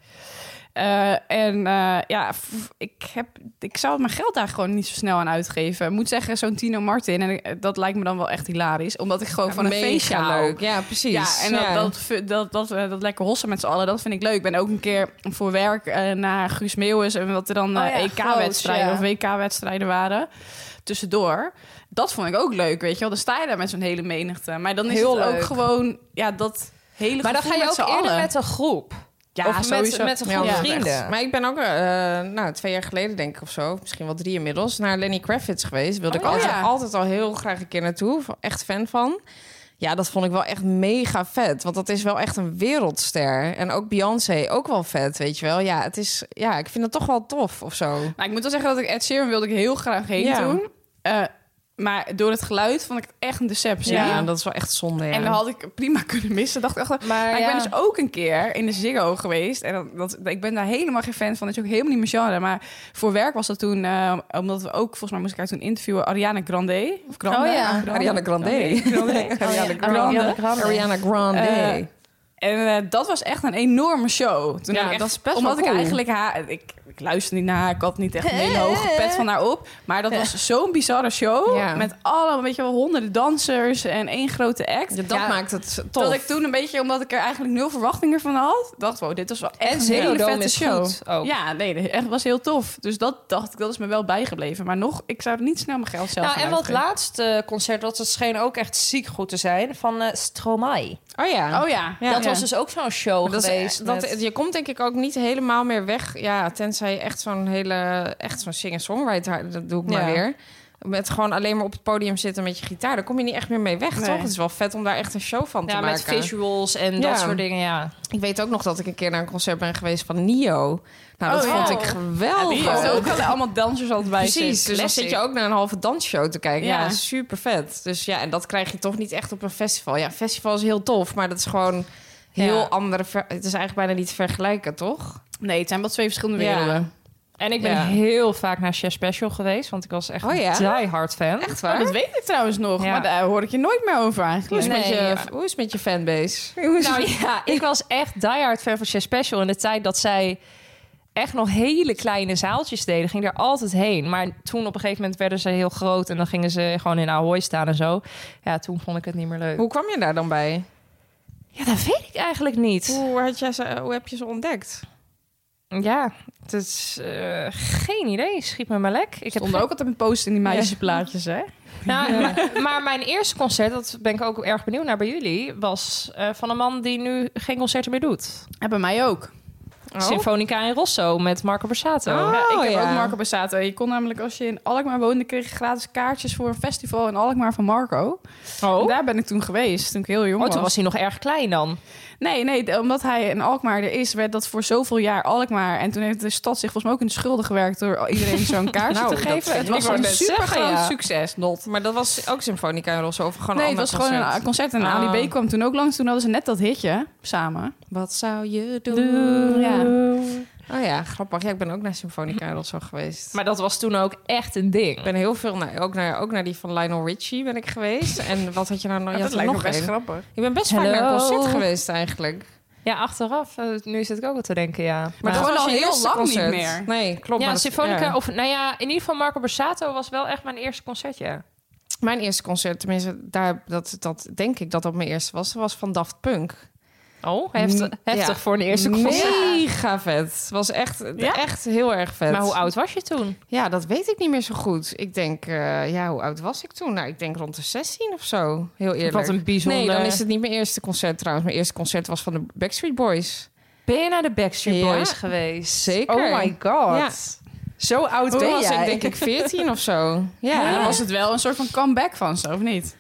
Speaker 6: Eh, en eh, ja, f- ik, heb, ik zou mijn geld daar gewoon niet zo snel aan uitgeven. Ik moet zeggen, zo'n Tino Martin, en eh, dat lijkt me dan wel echt hilarisch. Omdat ik gewoon van een
Speaker 5: Mega
Speaker 6: feestje hou.
Speaker 5: leuk. Ja, precies.
Speaker 6: Ja, en dat, dat, vu- dat, dat, eh, dat lekker hossen met z'n allen, dat vind ik leuk. Ik ben ook een keer voor werk eh, naar Guus Meeuwis... en wat er dan eh,
Speaker 7: Oh ja,
Speaker 6: EK-wedstrijden
Speaker 7: groot,
Speaker 6: of
Speaker 7: ja.
Speaker 6: WK-wedstrijden waren tussendoor. Dat vond ik ook leuk, weet je wel. Dan sta je daar met zo'n hele menigte. Maar dan is
Speaker 7: Heel
Speaker 6: het
Speaker 7: leuk.
Speaker 6: ook gewoon ja, dat hele
Speaker 7: maar dan ga
Speaker 6: gevoel
Speaker 7: je
Speaker 6: met
Speaker 7: ook
Speaker 6: z'n
Speaker 7: eerder
Speaker 6: allen.
Speaker 7: met een groep.
Speaker 6: Ja,
Speaker 7: of met-
Speaker 6: sowieso.
Speaker 7: met een groep
Speaker 6: Ja.
Speaker 7: vrienden.
Speaker 5: Echt. Maar ik ben ook, eh, nou, twee jaar geleden denk ik of zo, misschien wel drie inmiddels, naar Lenny Kravitz geweest. Wilde
Speaker 6: Oh,
Speaker 5: ik altijd,
Speaker 6: ja.
Speaker 5: altijd al heel graag een keer naartoe. Echt fan van. Ja, dat vond ik wel echt mega vet. Want dat is wel echt een wereldster. En ook Beyoncé, ook wel vet, weet je wel. Ja, het is, ja ik vind het toch wel tof of zo.
Speaker 6: Nou, ik moet wel zeggen dat ik Ed Sheeran wilde ik heel graag heen
Speaker 5: Ja.
Speaker 6: doen. Eh, maar door het geluid vond ik het echt een deceptie.
Speaker 5: Ja, dat is wel echt zonde. Ja.
Speaker 6: En dan had ik prima kunnen missen. Dacht ik echt,
Speaker 7: Maar,
Speaker 5: Ah,
Speaker 6: Maar
Speaker 7: ja.
Speaker 6: ik ben dus ook een keer in de Ziggo geweest. En dat, dat- ik ben daar helemaal geen fan van. Dat is ook helemaal niet mijn genre. Maar voor werk was dat toen... eh, omdat we ook, volgens mij moest ik haar toen interviewen... Ariana Grande. Of Grande.
Speaker 7: Oh ja.
Speaker 5: Ariana Grande.
Speaker 6: Oh,
Speaker 5: Ariana Grande.
Speaker 7: Oh, Ariana Grande.
Speaker 5: Ariana Grande.
Speaker 6: Eh, En eh, dat was echt een enorme show. Toen
Speaker 5: Ja,
Speaker 6: heb ik echt-
Speaker 5: dat is best wel
Speaker 6: Omdat ik
Speaker 5: cool.
Speaker 6: eigenlijk haar... Ik, ik luisterde niet naar haar. Ik had niet echt een hele hoge pet van haar op. Maar dat was zo'n bizarre show.
Speaker 5: Ja.
Speaker 6: Met allemaal, weet je wel, honderden dansers en één grote act.
Speaker 5: Ja, dat maakt het tof.
Speaker 6: Dat ik toen een beetje, omdat ik er eigenlijk nul verwachtingen van had, dacht wow, dit was wel echt
Speaker 7: En
Speaker 6: een
Speaker 7: Ziggo
Speaker 6: hele
Speaker 7: Dome
Speaker 6: vette
Speaker 7: is
Speaker 6: show.
Speaker 7: goed ook.
Speaker 6: Ja, nee, dat echt was heel tof. Dus dat dacht ik, dat is me wel bijgebleven. Maar nog, ik zou er niet snel mijn geld zelf
Speaker 7: Nou,
Speaker 6: aan
Speaker 7: en wat
Speaker 6: uitgeven.
Speaker 7: laatste concert, dat het scheen ook echt ziek goed te zijn, van eh Stromae.
Speaker 5: Oh ja.
Speaker 6: Oh ja,
Speaker 5: Ja.
Speaker 7: dat was dus ook zo'n show
Speaker 5: Dat is-
Speaker 7: geweest.
Speaker 5: dat,
Speaker 7: met-
Speaker 5: Je komt denk ik ook niet helemaal meer weg. Ja, tenzij je echt zo'n hele... Echt zo'n singer-songwriter, dat doe ik maar
Speaker 7: Ja.
Speaker 5: weer. Met gewoon alleen maar op het podium zitten met je gitaar. Daar kom je niet echt meer mee weg,
Speaker 6: Nee.
Speaker 5: toch? Het is wel vet om daar echt een show van te
Speaker 7: ja, met
Speaker 5: maken.
Speaker 7: visuals en
Speaker 5: Ja.
Speaker 7: dat soort dingen, ja.
Speaker 5: Ik weet ook nog dat ik een keer naar een concert ben geweest van Nio. Nou, dat
Speaker 6: Oh,
Speaker 5: vond
Speaker 6: ja.
Speaker 5: ik
Speaker 6: Ja,
Speaker 5: geweldig.
Speaker 6: die heeft ook alle- allemaal dansers altijd bij zich.
Speaker 5: Precies, dus dan
Speaker 6: Classic.
Speaker 5: zit je ook naar een halve dansshow te kijken. Ja,
Speaker 6: Ja.
Speaker 5: super vet. Dus ja, en dat krijg je toch niet echt op een festival. Ja, een festival is heel tof, maar dat is gewoon heel
Speaker 7: Ja.
Speaker 5: andere... ver- Het is eigenlijk bijna niet te vergelijken, toch?
Speaker 6: Nee, het zijn wel twee verschillende
Speaker 5: Ja.
Speaker 6: werelden. Oh,
Speaker 7: En ik ben
Speaker 5: Ja.
Speaker 7: heel vaak naar Chef Special geweest, want ik was echt
Speaker 5: Oh ja?
Speaker 7: een die hard fan.
Speaker 5: Echt
Speaker 6: Oh,
Speaker 5: waar?
Speaker 6: dat weet ik trouwens nog,
Speaker 7: Ja.
Speaker 6: maar daar hoor ik je nooit meer over
Speaker 5: Hoe
Speaker 6: eigenlijk.
Speaker 5: is, het met
Speaker 7: Nee,
Speaker 5: je,
Speaker 7: maar-
Speaker 5: hoe is het met je fanbase?
Speaker 7: Nou ja, ik was echt die hard fan van Chef Special in de tijd dat zij echt nog hele kleine zaaltjes deden, ging daar altijd heen. Maar toen op een gegeven moment werden ze heel groot en dan gingen ze gewoon in Ahoy staan en zo. Ja, toen vond ik het niet meer leuk.
Speaker 5: Hoe kwam je daar dan bij?
Speaker 7: Ja, dat weet ik eigenlijk niet.
Speaker 5: Hoe, had jij ze, hoe heb je ze ontdekt?
Speaker 7: Ja, het is eh, geen idee. Schiet me maar lek. Ik heb
Speaker 6: Stonden ook altijd met post in die meisjesplaatjes, hè?
Speaker 7: Nou, maar, maar mijn eerste concert, dat ben ik ook erg benieuwd naar bij jullie, was eh, van een man die nu geen concerten meer doet.
Speaker 6: En bij mij ook.
Speaker 5: Oh.
Speaker 7: Symfonica en Rosso met Marco Borsato.
Speaker 5: Ah.
Speaker 6: ja,
Speaker 7: Oh
Speaker 6: ik heb
Speaker 5: ja.
Speaker 6: ook Marco Bassato. Je kon namelijk als je in Alkmaar woonde, kreeg je gratis kaartjes voor een festival in Alkmaar van Marco. En
Speaker 7: Oh.
Speaker 6: Daar ben ik toen geweest, toen ik heel jong
Speaker 7: Oh, toen was hij nog erg klein dan.
Speaker 6: Nee, nee, d- omdat hij een Alkmaar er is, werd dat voor zoveel jaar Alkmaar. En toen heeft de stad zich volgens mij ook in de schulden gewerkt door iedereen zo'n kaartje
Speaker 5: Nou,
Speaker 6: te
Speaker 5: dat
Speaker 6: geven.
Speaker 5: vind
Speaker 6: Het
Speaker 5: ik
Speaker 6: was
Speaker 5: wel
Speaker 6: een
Speaker 5: best
Speaker 6: super
Speaker 5: zeggen,
Speaker 6: groot
Speaker 5: ja.
Speaker 6: succes, Lot.
Speaker 5: Maar dat was ook Symfonica en Rosso. Of gewoon
Speaker 6: Nee,
Speaker 5: een
Speaker 6: het was
Speaker 5: ander
Speaker 6: gewoon
Speaker 5: concert?
Speaker 6: een concert en
Speaker 5: Ah.
Speaker 6: Ali B kwam toen ook langs. Toen hadden ze net dat hitje samen.
Speaker 5: Wat zou je doen?
Speaker 6: Ja.
Speaker 5: Oh ja, grappig. Ja, ik ben ook naar Symfonica en Rosso geweest.
Speaker 7: Maar dat was toen ook echt een
Speaker 5: Ik
Speaker 7: ding.
Speaker 5: ben heel veel naar, ook, naar, ook naar die van Lionel Richie ben ik geweest. En wat had je nou nog? Je had
Speaker 6: dat
Speaker 5: er
Speaker 6: lijkt me
Speaker 5: nog
Speaker 6: best
Speaker 5: één.
Speaker 6: grappig.
Speaker 5: Ik ben best vaak
Speaker 7: Hello.
Speaker 5: naar een concert geweest eigenlijk.
Speaker 7: Ja, achteraf. eh, Nu zit ik ook al te denken, ja.
Speaker 5: Maar dat
Speaker 6: Ja. Gewoon
Speaker 5: was
Speaker 6: al
Speaker 5: je
Speaker 6: heel
Speaker 5: eerste
Speaker 6: lang niet
Speaker 5: concert.
Speaker 6: meer.
Speaker 5: Nee, klopt. maar
Speaker 7: Ja,
Speaker 5: dat-
Speaker 7: Symfonica.
Speaker 5: ja.
Speaker 7: Of nou ja, in ieder geval Marco Borsato was wel echt mijn eerste concertje.
Speaker 5: Mijn eerste concert, tenminste, daar, dat, dat denk ik dat dat mijn eerste was. Dat was van Daft Punk.
Speaker 7: Oh, heftig,
Speaker 5: Mm,
Speaker 7: heftig
Speaker 5: ja.
Speaker 7: voor een eerste concert.
Speaker 5: Mega vet. Het was echt,
Speaker 6: Ja?
Speaker 5: echt heel erg vet.
Speaker 7: Maar hoe oud was je toen?
Speaker 5: Ja, dat weet ik niet meer zo goed. Ik denk, eh, ja, hoe oud was ik toen? Nou, ik denk rond de 16 of zo. Heel eerlijk.
Speaker 7: Wat een bijzonder...
Speaker 5: Nee, dan is het niet mijn eerste concert trouwens. Mijn eerste concert was van de Backstreet Boys.
Speaker 7: Ben je naar de Backstreet
Speaker 5: Ja,
Speaker 7: Boys geweest?
Speaker 5: zeker.
Speaker 7: Oh my god.
Speaker 5: Ja.
Speaker 7: Zo oud
Speaker 5: Toen
Speaker 7: ben
Speaker 5: was
Speaker 7: jij.
Speaker 5: ik denk ik 14 of zo. Ja.
Speaker 6: Ja. dan was het wel een soort van comeback van ze, of niet?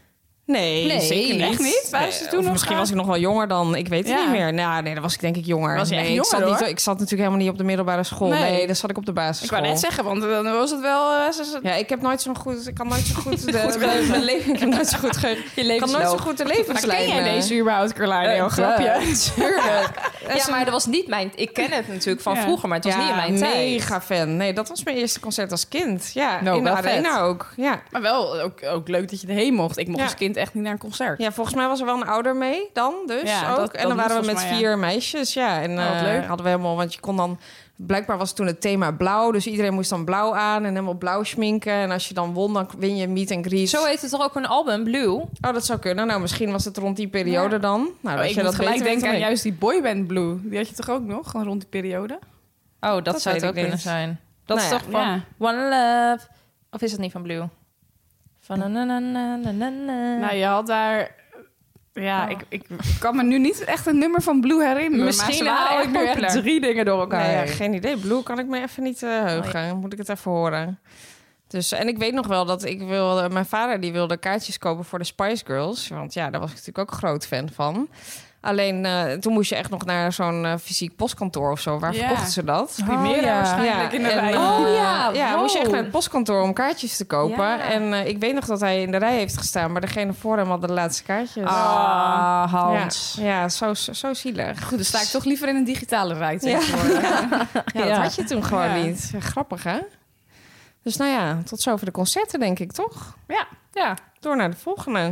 Speaker 5: Nee,
Speaker 7: Nee,
Speaker 5: zeker niet.
Speaker 6: echt niet? Waren ze
Speaker 5: Nee,
Speaker 6: toen
Speaker 5: of
Speaker 6: nog
Speaker 5: misschien
Speaker 6: aan?
Speaker 5: was ik nog wel jonger dan. Ik weet het
Speaker 6: Ja.
Speaker 5: niet meer. Nou, nee, dan was ik denk ik jonger.
Speaker 6: Was je
Speaker 5: nee,
Speaker 6: echt
Speaker 5: ik,
Speaker 6: jonger,
Speaker 5: zat
Speaker 6: hoor.
Speaker 5: niet, ik zat natuurlijk helemaal niet op de middelbare school.
Speaker 6: Nee.
Speaker 5: Nee, dan zat ik op de
Speaker 6: Ik
Speaker 5: basisschool.
Speaker 6: wou net zeggen, want dan was het wel... eh, ze- ze-
Speaker 5: Ja, ik heb nooit zo goed. Ik kan nooit zo goed. De, de- mijn le- ik heb nooit zo goed. Ge, ik kan nooit zo goed de
Speaker 6: Maar ken
Speaker 5: levenslijn.
Speaker 6: jij
Speaker 5: eh,
Speaker 6: deze überhaupt, Carlijn?
Speaker 5: eh,
Speaker 6: Heel grapje.
Speaker 5: duh, Tuurlijk.
Speaker 7: Ja, maar dat was niet mijn... Ik ken het natuurlijk van
Speaker 6: Ja.
Speaker 7: vroeger, maar het was niet in mijn tijd.
Speaker 5: mega fan. Nee, dat was mijn eerste concert als kind. Ja,
Speaker 6: Nou,
Speaker 5: in de
Speaker 6: wel vet.
Speaker 5: arena ook. Ja.
Speaker 6: Maar wel ook, ook leuk dat je erheen mocht. Ik mocht
Speaker 5: Ja.
Speaker 6: als kind echt niet naar een concert.
Speaker 5: ja, volgens mij was er wel een ouder mee dan, dus
Speaker 6: Ja,
Speaker 5: ook.
Speaker 6: dat- dat
Speaker 5: en dan
Speaker 6: moet
Speaker 5: waren we met
Speaker 6: volgens mij,
Speaker 5: vier meisjes, ja. En
Speaker 6: Nou, wat
Speaker 5: eh,
Speaker 6: leuk.
Speaker 5: hadden we helemaal, want je kon dan... Blijkbaar was toen het thema blauw, dus iedereen moest dan blauw aan en helemaal blauw schminken. En als je dan won, dan win je meet en greet.
Speaker 7: Zo heet het toch ook een album, Blue?
Speaker 5: Oh, dat zou kunnen. Nou, misschien was het rond die periode dan. Nou,
Speaker 6: Oh,
Speaker 5: dat
Speaker 6: ik
Speaker 5: je
Speaker 6: moet
Speaker 5: dat
Speaker 6: gelijk
Speaker 5: beter weet
Speaker 6: denken
Speaker 5: dan
Speaker 6: aan
Speaker 5: ik.
Speaker 6: juist die boyband Blue. Die had je toch ook nog, gewoon rond die periode?
Speaker 7: Oh, dat,
Speaker 5: Dat
Speaker 7: zou het
Speaker 5: weet
Speaker 7: ook
Speaker 5: ik niet.
Speaker 7: kunnen zijn. Dat
Speaker 5: Nou
Speaker 7: is
Speaker 5: ja.
Speaker 7: toch van
Speaker 6: Ja.
Speaker 7: One Love... Of is dat niet van Blue? Van na na na na na na na.
Speaker 6: Nou, je had daar...
Speaker 5: Oh.
Speaker 6: Ja, ik, ik kan me nu niet echt een nummer van Blue herinneren. maar ze
Speaker 7: Misschien
Speaker 6: waren
Speaker 7: haal ik
Speaker 6: echt
Speaker 7: nu echt
Speaker 6: populair.
Speaker 7: drie dingen door elkaar
Speaker 5: Nee, ja,
Speaker 7: heen.
Speaker 5: geen idee. Blue kan ik me even niet eh, heugen. Moet ik het even horen. Dus, en ik weet nog wel dat ik wilde... Mijn vader die wilde kaartjes kopen voor de Spice Girls. Want ja, daar was ik natuurlijk ook groot fan van. Alleen eh, toen moest je echt nog naar zo'n eh, fysiek postkantoor of zo. Waar
Speaker 6: Ja.
Speaker 5: verkochten ze dat?
Speaker 6: Primera
Speaker 7: ja.
Speaker 6: waarschijnlijk in de
Speaker 5: en,
Speaker 6: rij.
Speaker 5: eh,
Speaker 7: Oh ja,
Speaker 5: ja
Speaker 7: wow.
Speaker 5: moest je echt naar het postkantoor om kaartjes te kopen.
Speaker 7: Ja.
Speaker 5: En eh, ik weet nog dat hij in de rij heeft gestaan. Maar degene voor hem had de laatste kaartjes.
Speaker 7: Ah,
Speaker 5: ja,
Speaker 7: Hans.
Speaker 5: ja zo, zo zielig.
Speaker 6: Goed, dan sta ik toch liever in een digitale rij
Speaker 5: Ja.
Speaker 6: tegenwoordig.
Speaker 5: Ja, dat
Speaker 7: Ja.
Speaker 5: had je toen gewoon
Speaker 6: Ja.
Speaker 5: niet. Ja, grappig, hè? Dus nou ja, tot zover de concerten, denk ik, toch?
Speaker 6: Ja.
Speaker 7: Ja.
Speaker 5: Door naar de volgende.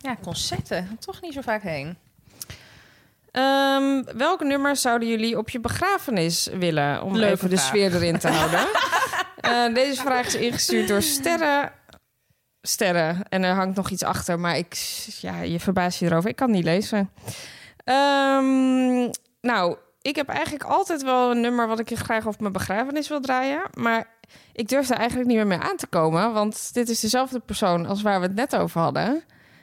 Speaker 7: Ja, concerten. Toch niet zo vaak heen.
Speaker 5: Ehm, welk nummer zouden jullie op je begrafenis willen? Om
Speaker 6: Leuke
Speaker 5: even de
Speaker 6: vraag.
Speaker 5: sfeer erin te houden. Eh, deze vraag is ingestuurd door Sterren. Sterren. En er hangt nog iets achter, maar ik, ja, je verbaast je erover. Ik kan het niet lezen. Ehm, nou, ik heb eigenlijk altijd wel een nummer wat ik graag op mijn begrafenis wil draaien. Maar ik durf daar eigenlijk niet meer mee aan te komen. Want dit is dezelfde persoon als waar we het net over hadden.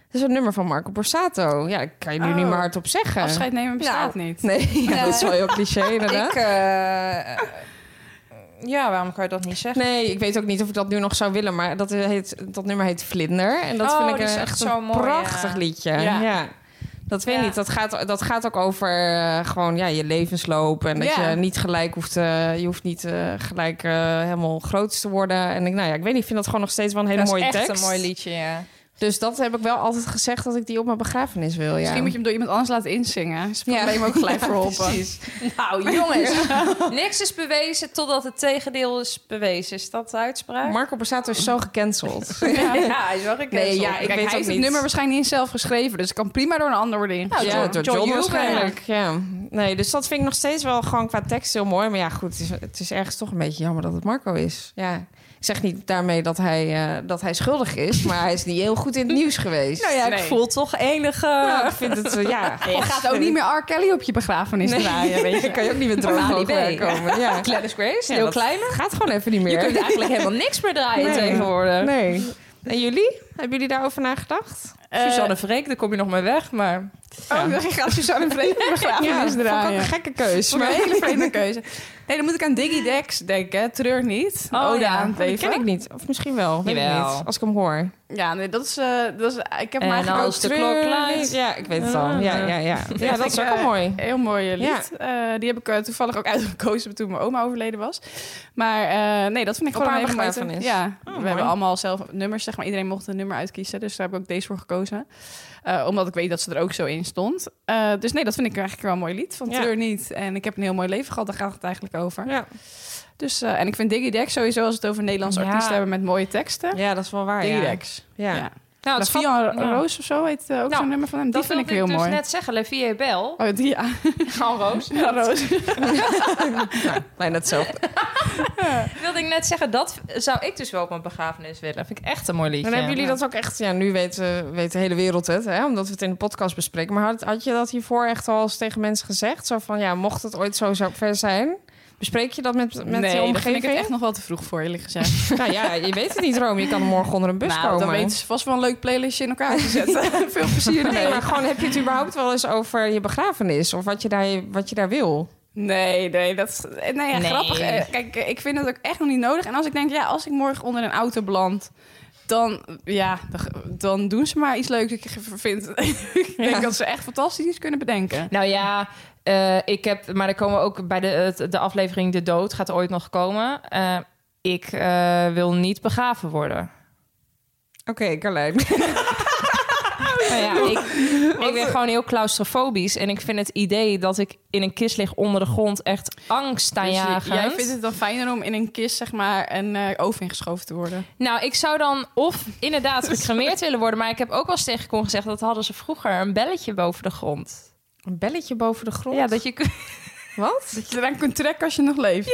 Speaker 5: Het is een nummer van Marco Borsato. Ja, dat kan je nu
Speaker 6: Oh.
Speaker 5: niet meer hardop zeggen.
Speaker 6: Afscheid nemen bestaat niet.
Speaker 5: Nee, eh, ja, dat is wel heel cliché inderdaad.
Speaker 7: Ik... eh, ja, waarom kan je dat niet zeggen?
Speaker 5: Nee, ik weet ook niet of ik dat nu nog zou willen, maar dat, heet, dat nummer heet Vlinder. En dat
Speaker 7: Oh,
Speaker 5: vind ik
Speaker 7: die is
Speaker 5: een-
Speaker 7: echt
Speaker 5: echt
Speaker 7: zo
Speaker 5: een
Speaker 7: mooi,
Speaker 5: prachtig
Speaker 7: ja.
Speaker 5: liedje.
Speaker 6: Ja.
Speaker 5: Ja. Dat weet ik
Speaker 7: Ja.
Speaker 5: niet. Dat gaat, dat gaat ook over eh, gewoon ja, je levensloop. En dat
Speaker 6: Ja.
Speaker 5: je niet gelijk hoeft. eh, je hoeft niet eh, gelijk eh, helemaal groot te worden. En ik, nou ja, ik weet niet, ik vind dat gewoon nog steeds wel een hele
Speaker 7: dat
Speaker 5: mooie
Speaker 7: is echt
Speaker 5: tekst.
Speaker 7: een mooi liedje, ja.
Speaker 5: Dus dat heb ik wel altijd gezegd dat ik die op mijn begrafenis wil. Ja.
Speaker 6: Misschien moet je hem door iemand anders laten insingen. Is het probleem ook gelijk verholpen.
Speaker 7: Nou, jongens. niks is bewezen totdat het tegendeel is bewezen. Is dat de uitspraak?
Speaker 5: Marco Borsato is zo gecanceld.
Speaker 7: ja, hij is wel gecanceld.
Speaker 5: Nee, ja,
Speaker 6: Kijk,
Speaker 5: ik weet
Speaker 6: hij
Speaker 5: ook
Speaker 6: heeft het
Speaker 5: niet. Nou,
Speaker 6: nummer waarschijnlijk niet zelf geschreven. Dus het kan prima door een ander worden ingestuurd.
Speaker 5: ja,
Speaker 7: John-
Speaker 5: door
Speaker 7: John
Speaker 5: John,
Speaker 7: Hughes
Speaker 5: waarschijnlijk. Ja. Nee, dus dat vind ik nog steeds wel gewoon qua tekst heel mooi. Maar ja, goed, het is, het is ergens toch een beetje jammer dat het Marco is. Ja, ik zeg niet daarmee dat hij, eh, dat hij schuldig is, maar hij is niet heel goed in het nieuws geweest.
Speaker 7: Nou ja, ik
Speaker 6: Nee.
Speaker 7: voel toch enige...
Speaker 5: Nou, ik vind het, eh, ja...
Speaker 6: Je Oh, gaat ook niet meer R. Kelly op je begrafenis draaien, weet je.
Speaker 5: kan je ook niet met droog
Speaker 7: Ali
Speaker 5: oog
Speaker 7: B.
Speaker 5: komen. Ja.
Speaker 7: Gladys Grace,
Speaker 5: Ja,
Speaker 7: heel
Speaker 5: dat
Speaker 7: kleine.
Speaker 5: Gaat gewoon even niet
Speaker 7: Je kunt
Speaker 5: meer.
Speaker 7: eigenlijk helemaal niks meer draaien
Speaker 5: Nee.
Speaker 7: tegenwoordig.
Speaker 5: Nee. En jullie? Hebben jullie daarover nagedacht?
Speaker 7: Suzanne Freek, daar kom je nog mee weg, maar...
Speaker 6: Oh, dan gaat Suzanne Vreemd begrafenis
Speaker 5: dat vond ik ook
Speaker 6: draaien.
Speaker 5: een gekke keus.
Speaker 6: Dat
Speaker 5: Maar...
Speaker 6: is een hele vreemde keuze. Nee, dan moet ik aan Diggy Dex denken. hè. Treur niet. Ode
Speaker 5: ja,
Speaker 6: aan het
Speaker 5: dat
Speaker 6: leven.
Speaker 5: ken ik niet. Of misschien wel. Weet ik
Speaker 7: Jawel.
Speaker 5: niet. Als ik hem hoor.
Speaker 6: Ja, nee, dat is... eh, dat is ik heb
Speaker 7: En
Speaker 6: hem eigenlijk
Speaker 7: als
Speaker 6: ook
Speaker 7: de
Speaker 6: treur
Speaker 7: klok
Speaker 6: niet.
Speaker 7: luidt.
Speaker 5: Ja, ik weet het al. Ja, ja, ja. Ja, dat is ook
Speaker 6: eh,
Speaker 5: wel mooi.
Speaker 6: Heel mooi eh, lied. Eh, die heb ik eh, toevallig ook uitgekozen toen mijn oma overleden was. Maar eh, nee, dat vind ik
Speaker 5: Op
Speaker 6: gewoon
Speaker 5: haar
Speaker 6: een hele mooie-
Speaker 5: begrafenis. Oh,
Speaker 6: Ja, we
Speaker 5: mooi.
Speaker 6: hebben allemaal zelf nummers, zeg maar. Iedereen mocht een nummer uitkiezen, dus daar heb ik ook deze voor gekozen. Eh, omdat ik weet dat ze er ook zo in stond. Eh, dus nee, dat vind ik eigenlijk wel een mooi lied. Van
Speaker 5: Ja.
Speaker 6: Treur niet. En ik heb een heel mooi leven gehad, daar gaat het eigenlijk over.
Speaker 5: Ja.
Speaker 6: Dus, eh, en ik vind Diggy Dex sowieso, als we het over Nederlandse
Speaker 5: Ja.
Speaker 6: artiesten hebben met mooie teksten.
Speaker 5: ja, dat is wel waar.
Speaker 6: Diggy
Speaker 5: Ja.
Speaker 6: Dex.
Speaker 5: Ja.
Speaker 6: Ja.
Speaker 5: Nou, het valt-
Speaker 6: Vian
Speaker 5: ja.
Speaker 6: Roos of zo heet eh, ook
Speaker 7: Nou,
Speaker 6: zo'n nummer van hem. Dat
Speaker 7: Die
Speaker 6: vind ik
Speaker 7: wilde
Speaker 6: heel
Speaker 7: dus
Speaker 6: mooi.
Speaker 7: net zeggen, Levie Bel.
Speaker 6: Oh, die, ja.
Speaker 7: Gewoon Roos.
Speaker 6: Ja, Roos.
Speaker 5: Bijna hetzelfde.
Speaker 7: wilde ik net zeggen, dat zou ik dus wel op mijn begrafenis willen. vind ik echt een mooi liedje.
Speaker 5: Dan hebben jullie dat ook echt... Ja, nu weet, eh, weet de hele wereld het, hè, omdat we het in de podcast bespreken. Maar had, had je dat hiervoor echt al eens tegen mensen gezegd? Zo van, ja, mocht het ooit zo zo ver zijn... Bespreek je dat met, met je
Speaker 6: nee, daar vind ik
Speaker 5: omgeving?
Speaker 6: het echt nog wel te vroeg voor, eerlijk gezegd.
Speaker 5: Nou ja, je weet het niet, Rome. Je kan morgen onder een bus
Speaker 6: nou, dan
Speaker 5: komen.
Speaker 6: weten ze vast wel een leuk playlistje in elkaar te zetten. Veel plezier
Speaker 5: Nee,
Speaker 6: ermee.
Speaker 5: maar gewoon heb je het überhaupt wel eens over je begrafenis of wat je daar, wat je daar wil?
Speaker 6: Nee, nee, dat is... Nee, ja,
Speaker 7: Nee.
Speaker 6: grappig. Eh, Kijk, eh, ik vind het ook echt nog niet nodig. En als ik denk, ja, als ik morgen onder een auto beland... Dan, ja, dan- dan doen ze maar iets leuks dat ik vind. ik denk
Speaker 5: Ja.
Speaker 6: dat ze echt fantastisch iets kunnen bedenken.
Speaker 7: Nou ja, eh, ik heb, maar daar komen we ook bij de, het- de aflevering De Dood gaat ooit nog komen. Eh, ik eh, wil niet begraven worden.
Speaker 5: Oké, Carlijn.
Speaker 7: Nou ja, ik, ik ben gewoon heel claustrofobisch en ik vind het idee dat ik in een kist lig onder de grond echt angst aan
Speaker 6: Dus je-
Speaker 7: jagen.
Speaker 6: jij vindt het dan fijner om in een kist, zeg maar, een eh, oven ingeschoven te worden.
Speaker 7: Nou, ik zou dan of inderdaad gecremeerd willen worden, maar ik heb ook wel eens tegen Con gezegd dat hadden ze vroeger een belletje boven de grond.
Speaker 5: Een belletje boven de grond?
Speaker 7: Ja, dat je kun-
Speaker 5: Wat?
Speaker 6: Dat je eraan kunt trekken als je nog leeft.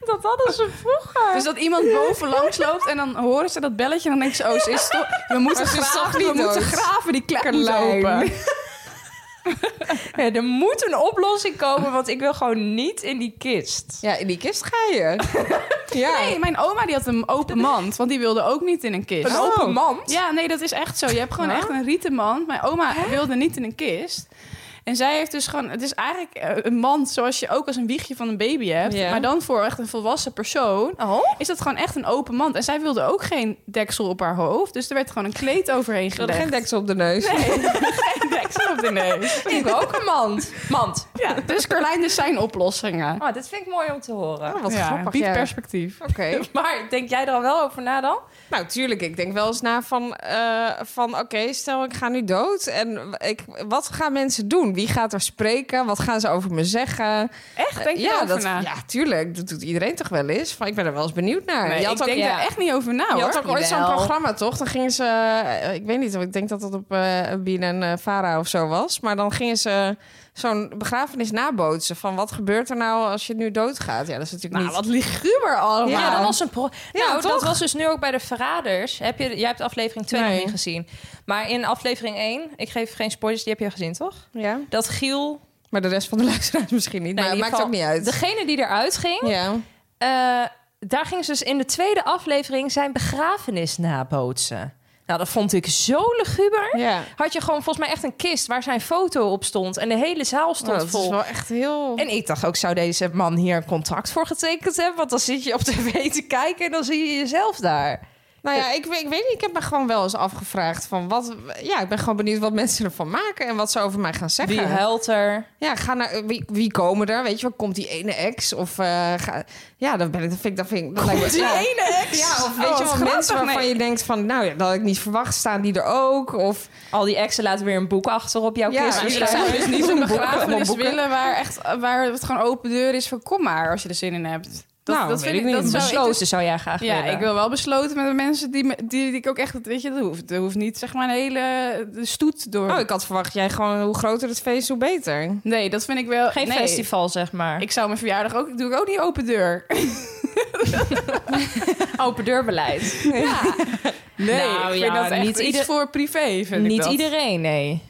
Speaker 7: dat hadden ze vroeger.
Speaker 6: Dus dat iemand boven langs loopt en dan horen ze dat belletje en dan denken ze, oh, ze is toch... We moeten
Speaker 5: Maar ze is
Speaker 6: graven,
Speaker 5: toch niet
Speaker 6: we moeten
Speaker 5: dood?
Speaker 6: graven, die klep moet
Speaker 5: Carlijn.
Speaker 6: open.
Speaker 7: Ja, er moet een oplossing komen, want ik wil gewoon niet in die kist.
Speaker 5: Ja, in die kist ga je. ja.
Speaker 6: Nee, mijn oma die had een open mand, want die wilde ook niet in een kist.
Speaker 7: Oh.
Speaker 5: Een Nou? open
Speaker 6: mand? Ja, nee, dat is echt zo. Je hebt gewoon echt een rieten mand. Mijn oma wilde niet in een kist. En zij heeft dus gewoon, het is eigenlijk eh, een mand zoals je ook als een wiegje van een baby hebt.
Speaker 5: Ja. Oh?
Speaker 6: Maar dan voor echt een volwassen persoon. Is dat gewoon echt een open mand. En zij wilde ook geen deksel op haar hoofd. Dus er werd gewoon een kleed overheen
Speaker 5: Ik wilde
Speaker 6: gelegd.
Speaker 5: geen deksel op de neus.
Speaker 6: geen deksel op de neus.
Speaker 7: Ik wil ook een mand. Mand.
Speaker 6: Ja, dus Carlijn, dus zijn oplossingen.
Speaker 7: Oh, dit vind ik mooi om te horen.
Speaker 5: Oh, wat
Speaker 6: ja,
Speaker 5: grappig.
Speaker 6: biedt
Speaker 5: ja.
Speaker 6: perspectief.
Speaker 5: Oké.
Speaker 7: Maar denk jij er al wel over na dan?
Speaker 5: Nou, tuurlijk. Ik denk wel eens na van, eh, van oké, stel ik ga nu dood. En ik, wat gaan mensen doen? Wie gaat er spreken? Wat gaan ze over me zeggen?
Speaker 6: Echt? Denk je
Speaker 5: Eh, ja,
Speaker 6: erover
Speaker 5: dat,
Speaker 6: na?
Speaker 5: ja, tuurlijk. Dat doet iedereen toch wel eens? Van, ik ben er wel eens benieuwd naar.
Speaker 6: Nee,
Speaker 5: Je had
Speaker 6: ik
Speaker 5: ook-
Speaker 6: denk
Speaker 7: ja.
Speaker 6: daar echt niet over na, hoor.
Speaker 5: Je had ook ooit zo'n
Speaker 7: Jawel.
Speaker 5: programma, toch? Dan gingen ze, eh, ik weet niet, ik denk dat dat op eh BNN eh Vara of zo was. Maar dan gingen ze zo'n begrafenis nabootsen. Van wat gebeurt er nou als je nu doodgaat? Ja, dat is natuurlijk
Speaker 6: Nou,
Speaker 5: niet...
Speaker 6: wat liguber allemaal.
Speaker 5: Ja.
Speaker 7: Ja, dat was een pro.
Speaker 5: Ja,
Speaker 7: nou,
Speaker 5: toch?
Speaker 7: dat was dus nu ook bij de Verraders. Heb je, jij hebt aflevering 2
Speaker 5: Nee.
Speaker 7: nog niet gezien. Maar in aflevering 1, ik geef geen spoilers, die heb je gezien toch?
Speaker 5: Ja,
Speaker 7: Dat Giel.
Speaker 5: maar de rest van de luisteraars misschien niet.
Speaker 7: Nee,
Speaker 5: maar
Speaker 7: in
Speaker 5: het
Speaker 7: ieder
Speaker 5: maakt ook niet
Speaker 7: geval,
Speaker 5: uit.
Speaker 7: Degene die eruit ging,
Speaker 5: Ja.
Speaker 7: eh, daar ging ze dus in de tweede aflevering zijn begrafenis nabootsen. Nou, dat vond ik zo luguber.
Speaker 5: ja.
Speaker 7: Had je gewoon volgens mij echt een kist waar zijn foto op stond en de hele zaal stond
Speaker 5: Nou, dat
Speaker 7: vol.
Speaker 5: is wel echt heel...
Speaker 7: En ik dacht ook, zou deze man hier een contract voor getekend hebben? Want dan zit je op tv te kijken en dan zie je jezelf daar.
Speaker 5: Nou ja, ik, weet- ik weet niet. Ik heb me gewoon wel eens afgevraagd van wat... Ja, ik ben gewoon benieuwd wat mensen ervan maken en wat ze over mij gaan zeggen.
Speaker 7: Wie huilt er?
Speaker 5: Ja, ga naar wie, wie komen er? Weet je wel, komt die ene ex? Of eh, ga, ja, dan ben ik, dat vind ik, dat vind ik, dat lijkt me- ja.
Speaker 6: ex.
Speaker 5: Ja, of weet
Speaker 6: Oh,
Speaker 5: je
Speaker 6: wat
Speaker 5: wel,
Speaker 6: grappig,
Speaker 5: mensen waarvan
Speaker 6: nee.
Speaker 5: je denkt van, nou ja, dat had ik niet verwacht, staan die er ook? Of
Speaker 7: Al die exen laten weer een boek achter op jouw
Speaker 5: Ja,
Speaker 7: kist.
Speaker 5: maar
Speaker 7: Dus
Speaker 5: ik
Speaker 7: daar-
Speaker 5: zou
Speaker 6: dus niet een
Speaker 5: Allemaal
Speaker 6: begrafenis
Speaker 5: boeken.
Speaker 6: willen waar, echt, waar het gewoon open deur is voor kom maar als je er zin in hebt. Dat,
Speaker 5: Nou,
Speaker 6: dat
Speaker 5: weet
Speaker 6: vind
Speaker 5: ik niet.
Speaker 6: ik, dat zou ik
Speaker 7: Besloten
Speaker 6: dus-
Speaker 7: zou jij graag
Speaker 6: ja,
Speaker 7: willen.
Speaker 6: ik wil wel besloten met de mensen die, me- die, die ik ook echt, weet je, dat hoeft, dat hoeft niet zeg maar een hele de stoet door.
Speaker 5: oh, ik had verwacht jij gewoon hoe groter het feest, hoe beter.
Speaker 6: Nee, dat vind ik wel.
Speaker 7: Geen
Speaker 6: nee.
Speaker 7: festival, zeg maar.
Speaker 6: Ik zou mijn verjaardag
Speaker 5: Nou
Speaker 6: ook, doe ik ook niet open deur.
Speaker 7: open deurbeleid.
Speaker 6: Nee,
Speaker 7: Nou
Speaker 6: ik vind
Speaker 7: ja,
Speaker 6: dat echt
Speaker 7: niet
Speaker 6: iets
Speaker 7: ieder-
Speaker 6: voor privé, vind ik
Speaker 7: Niet
Speaker 6: dat.
Speaker 7: iedereen, nee.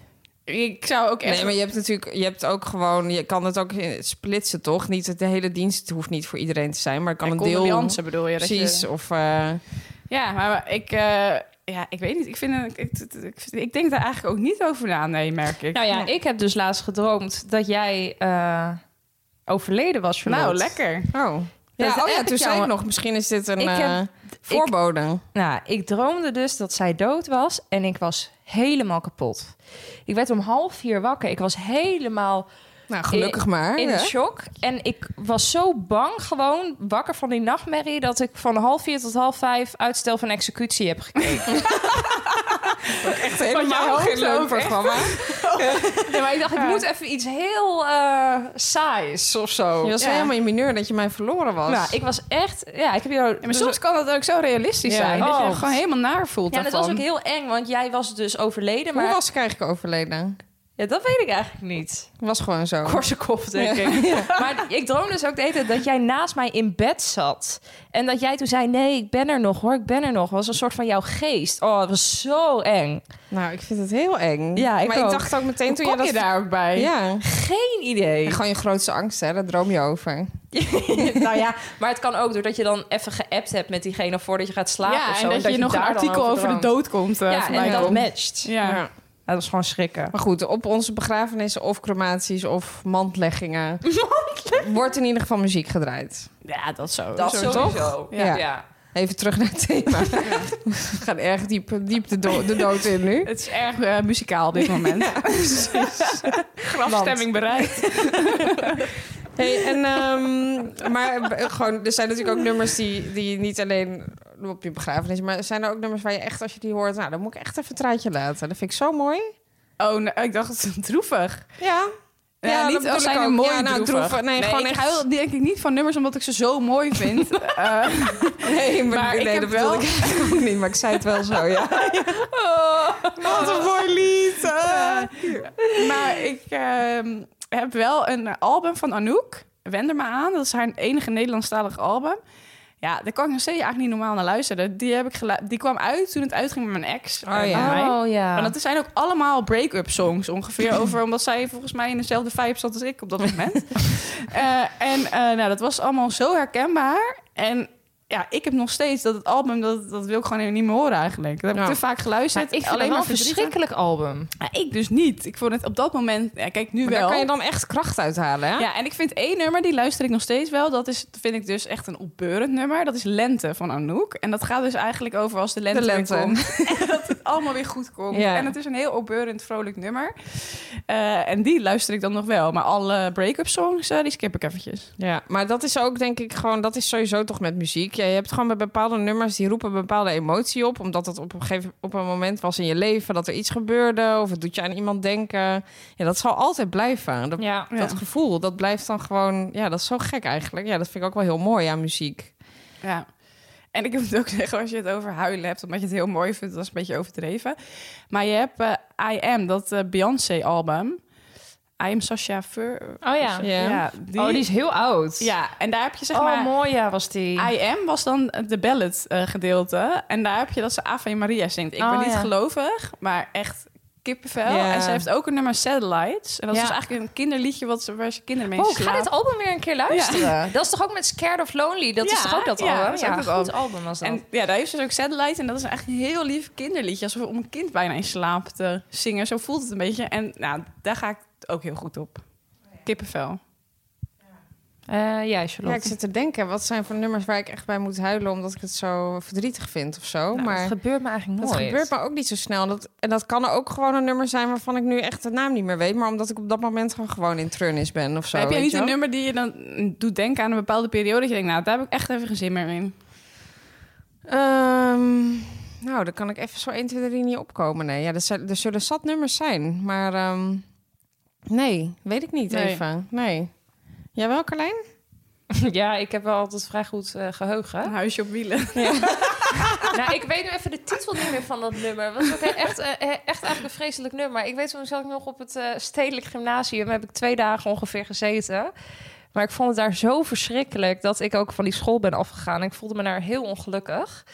Speaker 6: Ik zou ook echt...
Speaker 5: Nee, maar je hebt natuurlijk, je hebt ook gewoon, je kan het ook eh, splitsen, toch? Niet dat de hele dienst het hoeft niet voor iedereen te zijn, maar het kan
Speaker 6: Ja,
Speaker 5: een deel.
Speaker 6: condoleance bedoel je? dat je-
Speaker 5: Precies. Of eh,
Speaker 6: Ja, maar ik, eh, ja, ik weet niet. Ik, vind, het- ik, ik, ik, ik denk daar eigenlijk ook niet over na, nee, merk ik.
Speaker 7: Nou ja, ik heb dus laatst gedroomd dat jij eh, overleden was, Charlotte.
Speaker 6: Nou, lekker.
Speaker 5: oh.
Speaker 7: Ja,
Speaker 5: Ja,
Speaker 7: dat
Speaker 5: oh ja,
Speaker 7: heb
Speaker 5: toen
Speaker 7: ik
Speaker 5: zei ik
Speaker 7: jou-
Speaker 5: nog, misschien is dit een
Speaker 7: Ik heb-
Speaker 5: eh, voorbode.
Speaker 7: Nou, ik droomde dus dat zij dood was en ik was helemaal kapot. Ik werd om half vier wakker. Ik was helemaal
Speaker 5: nou, gelukkig maar.
Speaker 7: in
Speaker 5: hè?
Speaker 7: shock. En ik was zo bang gewoon wakker van die nachtmerrie... dat ik van half vier tot half vijf uitstel van executie heb gekregen.
Speaker 5: Echt helemaal geen leuk programma.
Speaker 7: Nee, maar ik dacht, ik moet even iets heel eh, saais of zo.
Speaker 5: Je was
Speaker 7: Ja.
Speaker 5: helemaal in mineur dat je mij verloren was.
Speaker 7: Nou, ik was echt... Ja, ik heb jou... dus
Speaker 6: Ja, maar soms kan dat ook zo realistisch
Speaker 5: Ja.
Speaker 6: zijn. Dat je
Speaker 7: Oh.
Speaker 6: je gewoon helemaal naar voelt
Speaker 7: Ja, dat
Speaker 6: daarvan.
Speaker 7: was ook heel eng, want jij was dus overleden.
Speaker 5: Hoe
Speaker 7: Maar
Speaker 5: was ik eigenlijk overleden?
Speaker 7: ja, dat weet ik eigenlijk niet.
Speaker 5: Was gewoon zo.
Speaker 7: Korse kop, denk ik. Maar ik droomde dus ook de hele tijd dat jij naast mij in bed zat. En dat jij toen zei, nee, ik ben er nog hoor, ik ben er nog. was een soort van jouw geest. Oh, dat was zo eng.
Speaker 5: Nou, ik vind het heel eng.
Speaker 7: Ja, ik
Speaker 5: maar ik
Speaker 7: ook.
Speaker 5: dacht ook meteen toen
Speaker 6: Kom
Speaker 5: je
Speaker 6: je
Speaker 5: dat.
Speaker 6: daar ook bij?
Speaker 5: Ja,
Speaker 7: Geen idee.
Speaker 5: gewoon je grootste angst, hè? Daar droom je over.
Speaker 7: nou ja, maar het kan ook doordat je dan even geappt hebt met diegene voordat je gaat slapen
Speaker 6: Ja,
Speaker 7: of zo.
Speaker 6: en dat, je, nog een
Speaker 7: daar dan
Speaker 6: artikel over de
Speaker 7: droomt.
Speaker 6: dood komt eh,
Speaker 7: Ja,
Speaker 6: voorbij
Speaker 7: en dat
Speaker 6: komt.
Speaker 7: matcht.
Speaker 6: Ja.
Speaker 5: Ja.
Speaker 7: Dat was gewoon schrikken.
Speaker 5: Maar goed, op onze begrafenissen of crematies of mandleggingen wordt in ieder geval muziek gedraaid.
Speaker 6: ja, dat zo.
Speaker 7: Dat
Speaker 6: Zo-
Speaker 7: sowieso.
Speaker 5: Ja. Even terug naar het thema. We gaan erg diep, diep de, do- de dood in nu.
Speaker 6: Het is erg eh, muzikaal op dit moment. Grafstemming bereikt.
Speaker 5: Hey, en, ehm, maar eh, gewoon, er zijn natuurlijk ook nummers die, die niet alleen op je begrafenis... maar zijn er ook nummers waar je echt, als je die hoort... nou, dan moet ik echt even een traantje laten. Dat vind ik zo mooi.
Speaker 6: Oh, nou, ik dacht, het is droevig.
Speaker 5: Ja.
Speaker 6: Ja,
Speaker 5: dat
Speaker 6: niet
Speaker 5: bedoel
Speaker 6: als
Speaker 5: ik
Speaker 6: zijn
Speaker 5: ook.
Speaker 6: een mooi
Speaker 5: Ja, nou,
Speaker 6: droevig.
Speaker 5: droevig. Nee, gewoon
Speaker 6: ik
Speaker 5: echt-
Speaker 6: huil denk ik niet van nummers omdat ik ze zo mooi vind. Eh,
Speaker 5: Nee, maar,
Speaker 6: Maar
Speaker 5: nee,
Speaker 6: ik heb
Speaker 5: dat bedoelde
Speaker 6: wel-
Speaker 5: ik eigenlijk ook niet, maar ik zei het wel zo, ja. Oh. Wat een mooi lied.
Speaker 7: Ah,
Speaker 5: eh.
Speaker 6: maar ik ehm, heb wel een album van Anouk. Wend er maar aan. Dat is haar enige Nederlandstalig album. Ja, daar kan ik nog steeds eigenlijk niet normaal naar luisteren. Die, heb ik gelu- die kwam uit toen het uitging met mijn ex.
Speaker 5: Oh
Speaker 6: eh,
Speaker 5: ja.
Speaker 6: bij mij.
Speaker 7: Oh ja.
Speaker 6: Maar dat zijn ook allemaal break-up songs ongeveer over, omdat zij volgens mij in dezelfde vibe zat als ik op dat moment. Eh, en eh, nou, dat was allemaal zo herkenbaar. En ja, ik heb nog steeds dat het album, dat, dat wil ik gewoon niet meer horen eigenlijk. Dat heb
Speaker 5: Ja.
Speaker 6: ik te vaak
Speaker 7: Nou, Maar
Speaker 6: geluisterd.
Speaker 7: ik vind het wel een verschrikkelijk album.
Speaker 6: Ja, ik dus niet. Ik vond het op dat moment, ja, kijk nu
Speaker 5: Maar
Speaker 6: wel.
Speaker 5: daar kan je dan echt kracht uithalen, hè?
Speaker 6: Ja, en ik vind één nummer, die luister ik nog steeds wel. Dat is, vind ik dus echt een opbeurend nummer. Dat is Lente van Anouk. En dat gaat dus eigenlijk over als de lente,
Speaker 5: De
Speaker 6: weer
Speaker 5: lente.
Speaker 6: komt. En dat het allemaal weer goed komt.
Speaker 5: Ja.
Speaker 6: En het is een heel opbeurend, vrolijk nummer. Eh, en die luister ik dan nog wel. Maar alle break-up songs, eh, die skip ik eventjes.
Speaker 5: Ja, maar dat is ook denk ik gewoon, dat is sowieso toch met muziek. Ja, je hebt gewoon bij bepaalde nummers die roepen een bepaalde emotie op, omdat het op een gegeven op een moment was in je leven dat er iets gebeurde of het doet je aan iemand denken. Ja, dat zal altijd blijven. Dat,
Speaker 7: Ja.
Speaker 5: dat gevoel, dat blijft dan gewoon, ja, dat is zo gek eigenlijk. Ja, dat vind ik ook wel heel mooi aan muziek.
Speaker 6: Ja. En ik moet ook zeggen, als je het over huilen hebt, omdat je het heel mooi vindt, dat is een beetje overdreven. Maar je hebt eh, I Am, dat eh, Beyoncé-album. I Am Sasha Fur.
Speaker 7: Oh ja.
Speaker 5: Ja.
Speaker 6: die,
Speaker 7: Oh, die is heel oud.
Speaker 6: Ja, en daar heb je zeg
Speaker 7: oh,
Speaker 6: maar...
Speaker 7: mooi ja, was die.
Speaker 6: I am was dan de ballad eh, gedeelte. En daar heb je dat ze Ave Maria zingt. Ik ben
Speaker 7: Oh,
Speaker 6: niet
Speaker 7: ja.
Speaker 6: gelovig, maar echt kippenvel.
Speaker 5: Ja.
Speaker 6: En ze heeft ook een nummer Satellites. En dat
Speaker 7: Ja.
Speaker 6: is dus eigenlijk een kinderliedje wat ze, waar ze kinderen mee
Speaker 7: Oh, ik ga
Speaker 6: slaat.
Speaker 7: dit album weer een keer luisteren. Dat is toch ook met Scared of Lonely? Dat is
Speaker 6: Ja,
Speaker 7: toch ook dat
Speaker 6: ja,
Speaker 7: album?
Speaker 6: dat is ook dat
Speaker 7: goed
Speaker 6: album.
Speaker 7: album was dat.
Speaker 6: En ja, daar heeft ze dus ook Satellites. En dat is eigenlijk een heel lief kinderliedje. Alsof om een kind bijna in slaap te zingen. Zo voelt het een beetje. En nou, daar ga ik ook heel goed op. Kippenvel.
Speaker 7: Eh, ja,
Speaker 5: Ja, ik
Speaker 7: Charlotte.
Speaker 5: zit te denken, wat zijn voor nummers waar ik echt bij moet huilen omdat ik het zo verdrietig vind of zo.
Speaker 7: Nou,
Speaker 5: maar
Speaker 7: dat gebeurt me eigenlijk
Speaker 5: dat
Speaker 7: nooit.
Speaker 5: gebeurt me ook niet zo snel. Dat, en dat kan ook gewoon een nummer zijn waarvan ik nu echt de naam niet meer weet, maar omdat ik op dat moment gewoon- gewoon in treurnis ben of zo.
Speaker 6: heb je
Speaker 5: weet
Speaker 6: niet een
Speaker 5: wel?
Speaker 6: nummer die je dan doet denken aan een bepaalde periode? Dat je denkt, nou, daar heb ik echt even geen zin meer in.
Speaker 5: Ehm, nou, daar kan ik even zo 1, 2, 3 niet opkomen. Nee, ja, er, zijn- er zullen zat nummers zijn, maar ehm, nee, weet ik niet
Speaker 6: Nee.
Speaker 5: even. Nee. Jij wel, Carlijn?
Speaker 7: Ja, ik heb wel altijd vrij goed eh, geheugen.
Speaker 6: Een huisje op wielen.
Speaker 7: nou, ik weet nu even de titel niet meer van dat nummer. Dat was ook echt, eh, echt eigenlijk een vreselijk nummer. Ik weet toen zat ik nog op het eh, stedelijk gymnasium. Heb ik twee dagen ongeveer gezeten. Maar ik vond het daar zo verschrikkelijk dat ik ook van die school ben afgegaan. Ik voelde me daar heel ongelukkig.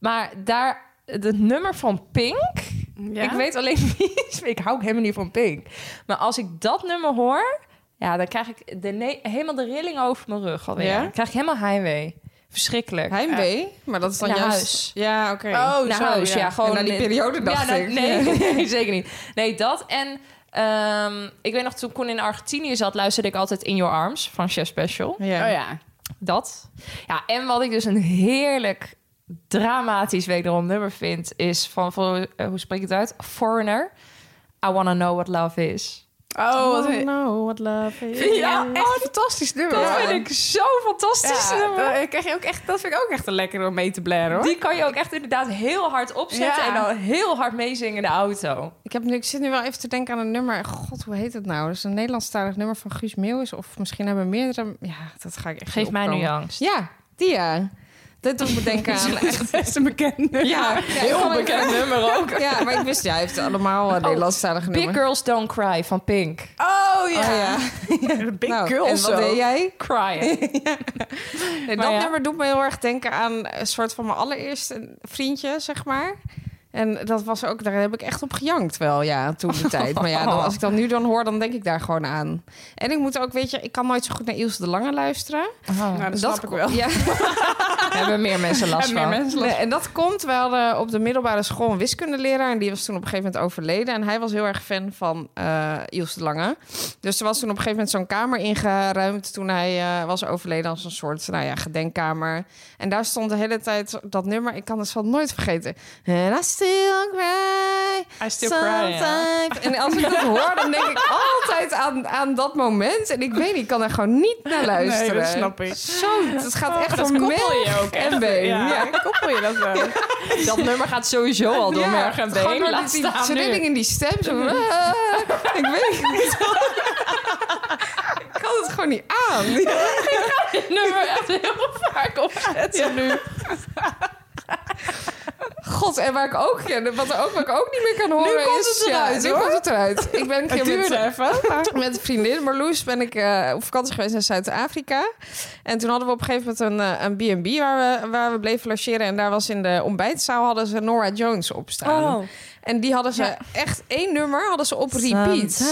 Speaker 7: Maar daar, het nummer van Pink,
Speaker 6: Ja?
Speaker 7: Ik weet alleen niet. Ik hou ook helemaal niet van Pink. Maar als ik dat nummer hoor, ja, dan krijg ik de ne- helemaal de rilling over mijn rug alweer.
Speaker 5: Ja?
Speaker 7: Dan krijg ik helemaal heimwee. Verschrikkelijk.
Speaker 5: Heimwee? Maar dat is dan
Speaker 7: Naar
Speaker 5: juist...
Speaker 7: huis.
Speaker 5: Ja, oké.
Speaker 6: Oh,
Speaker 7: naar
Speaker 6: zo,
Speaker 7: huis, ja.
Speaker 6: ja.
Speaker 7: gewoon
Speaker 5: En naar die
Speaker 7: in-
Speaker 5: periode, dacht
Speaker 7: nou,
Speaker 5: ik.
Speaker 7: Nee, nee, zeker niet. Nee, dat en... ehm, ik weet nog, toen Koen in Argentinië zat... luisterde ik altijd In Your Arms van Chef Special.
Speaker 5: Ja.
Speaker 6: Oh ja.
Speaker 7: Dat. Ja, en wat ik dus een heerlijk dramatisch wederom nummer vind... is van, voor- eh, hoe spreek ik het uit? Foreigner. I Wanna Know What Love Is.
Speaker 6: Oh, wat een-
Speaker 5: know what love is.
Speaker 6: Ja, echt een fantastisch nummer.
Speaker 7: Dat
Speaker 6: Ja.
Speaker 7: vind ik zo fantastisch
Speaker 6: Ja,
Speaker 7: nummer.
Speaker 6: dat, eh, krijg je ook echt, dat vind ik ook echt een lekker om mee te blaren, hoor.
Speaker 7: Die kan je ook echt inderdaad heel hard opzetten...
Speaker 6: Ja.
Speaker 7: en dan heel hard meezingen in de auto.
Speaker 5: Ik, heb nu, ik zit nu wel even te denken aan een nummer. God, hoe heet het nou? Dat is een Nederlandstalig nummer van Guus Meeuwis. Of misschien hebben we meerdere... Ja, dat ga ik echt
Speaker 7: Geef
Speaker 5: niet
Speaker 7: mij
Speaker 5: opkomen.
Speaker 7: nu angst.
Speaker 5: Ja, die ja. Dat doet me denken aan... echt-
Speaker 6: Dat is een bekende.
Speaker 5: Ja, heel
Speaker 7: Oh,
Speaker 5: bekend nummer ook. Ja, maar ik wist, ja, hij heeft allemaal eh, Nederlandstalige
Speaker 7: Big
Speaker 5: nummers.
Speaker 7: Girls Don't Cry van Pink.
Speaker 6: Oh ja. Big
Speaker 5: Nou,
Speaker 6: girls.
Speaker 5: En wat
Speaker 6: ook.
Speaker 5: deed jij?
Speaker 6: Nou,
Speaker 7: Crying.
Speaker 5: Nee,
Speaker 7: Maar
Speaker 5: dat
Speaker 7: ja.
Speaker 5: nummer doet me heel erg denken aan een soort van mijn allereerste vriendje, zeg maar. En dat was ook, daar heb ik echt op gejankt wel, ja, toen de tijd. Maar ja, dan- als ik dat nu dan hoor, dan denk ik daar gewoon aan. En ik moet ook, weet je, ik kan nooit zo goed naar Ilse de Lange luisteren.
Speaker 6: Nou, dat snap ik wel.
Speaker 5: Ja,
Speaker 7: Daar Oh, hebben meer mensen last
Speaker 6: En meer
Speaker 7: van.
Speaker 6: mensen
Speaker 5: nee, en dat komt wel eh, op de middelbare school een wiskundeleraar. En die was toen op een gegeven moment overleden. En hij was heel erg fan van eh Ilse de Lange. Dus er was toen op een gegeven moment zo'n kamer ingeruimd... toen hij eh, was overleden als een soort nou ja, gedenkkamer. En daar stond de hele tijd dat nummer. Ik kan het van nooit vergeten. And I still cry.
Speaker 6: I still cry, ja.
Speaker 5: sometimes. En als ik dat hoor, dan denk ik altijd aan, aan dat moment. En ik weet niet, ik kan er gewoon niet naar luisteren.
Speaker 6: dat snap ik. Oh,
Speaker 5: Zo, het gaat echt
Speaker 6: dat
Speaker 5: om
Speaker 6: koppel je
Speaker 5: melk
Speaker 6: ook
Speaker 5: en
Speaker 6: echt.
Speaker 5: been.
Speaker 6: Ja,
Speaker 5: Ja.
Speaker 6: koppel je dat wel.
Speaker 7: Dat nummer gaat sowieso al door merg en
Speaker 5: Gewoon
Speaker 7: been.
Speaker 5: door
Speaker 7: Laat
Speaker 5: die- die
Speaker 7: staan nu.
Speaker 5: trilling in die stem. Zo, van, "Ah." ik weet het niet. ik kan het gewoon niet aan.
Speaker 7: Dit nummer echt heel vaak opzetten nu.
Speaker 5: God, en waar ik ook, ja, wat er ook, wat ik ook niet meer kan horen nu komt is... Het eruit, nu komt het eruit. Ik ben een keer met, met een vriendin, Marloes, ben ik eh, op vakantie geweest in Zuid-Afrika. En toen hadden we op een gegeven moment een, eh, een B&B waar we, waar we bleven logeren. En daar was in de ontbijtzaal hadden ze Nora Jones op staan. En die hadden ze echt één nummer hadden ze op repeat.
Speaker 6: Oh,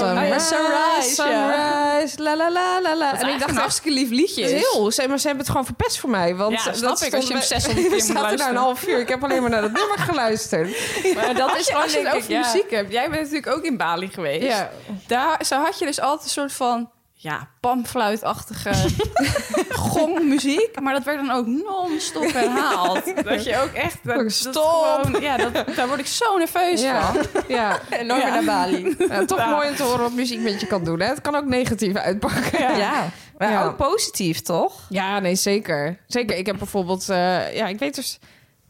Speaker 6: ja, sunrise, ja.
Speaker 5: sunrise, la la la la la. En ik dacht,
Speaker 6: een hartstikke lief liedje
Speaker 5: dat is heel, ze, maar ze hebben het gewoon verpest voor mij. Want
Speaker 6: Ja,
Speaker 5: dat
Speaker 6: snap ik,
Speaker 5: stond
Speaker 6: als je hem
Speaker 5: bij-
Speaker 6: 600 keer moet
Speaker 5: staat er nou een
Speaker 6: luisteren.
Speaker 5: half uur. Ik heb alleen maar naar dat nummer geluisterd.
Speaker 6: Maar dat is gewoon, als je het
Speaker 7: denk ik,
Speaker 6: over
Speaker 7: ja.
Speaker 6: muziek hebt. Jij bent natuurlijk ook in Bali geweest.
Speaker 5: Ja.
Speaker 6: Daar zo had je dus altijd een soort van ja, pamfluitachtige gongmuziek. Maar dat werd dan ook non-stop herhaald. Dat je ook echt... Dat, dat
Speaker 5: Stop.
Speaker 6: gewoon- ja, dat, daar word ik zo nerveus
Speaker 5: Ja,
Speaker 6: van.
Speaker 5: ja.
Speaker 7: En nooit meer naar Bali.
Speaker 5: Ja, toch
Speaker 6: Nou.
Speaker 5: mooi om te horen wat muziek met je kan doen. Hè? Het kan ook negatief uitpakken.
Speaker 7: Ja. Maar
Speaker 5: Ja.
Speaker 7: ook positief, toch?
Speaker 5: Ja, nee, zeker. Zeker. Ik heb bijvoorbeeld... eh, ja, ik weet dus...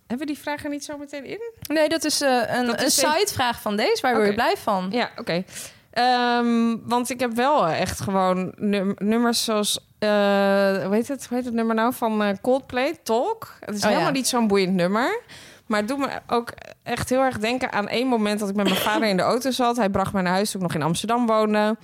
Speaker 5: Hebben we die vragen niet zo meteen in?
Speaker 7: Nee, dat is eh, een,
Speaker 5: een
Speaker 7: sidevraag van deze. Waar
Speaker 5: word je
Speaker 7: blij van?
Speaker 5: Ja, oké. Ehm, want ik heb wel echt gewoon num- nummers zoals... eh, hoe, heet het, hoe heet het nummer nou? Van eh, Coldplay, Talk. Het is
Speaker 7: Oh, ja.
Speaker 5: helemaal niet zo'n boeiend nummer. Maar het doet me ook echt heel erg denken aan één moment... dat ik met mijn vader in de auto zat. Hij bracht mij naar huis toen ik nog in Amsterdam woonde.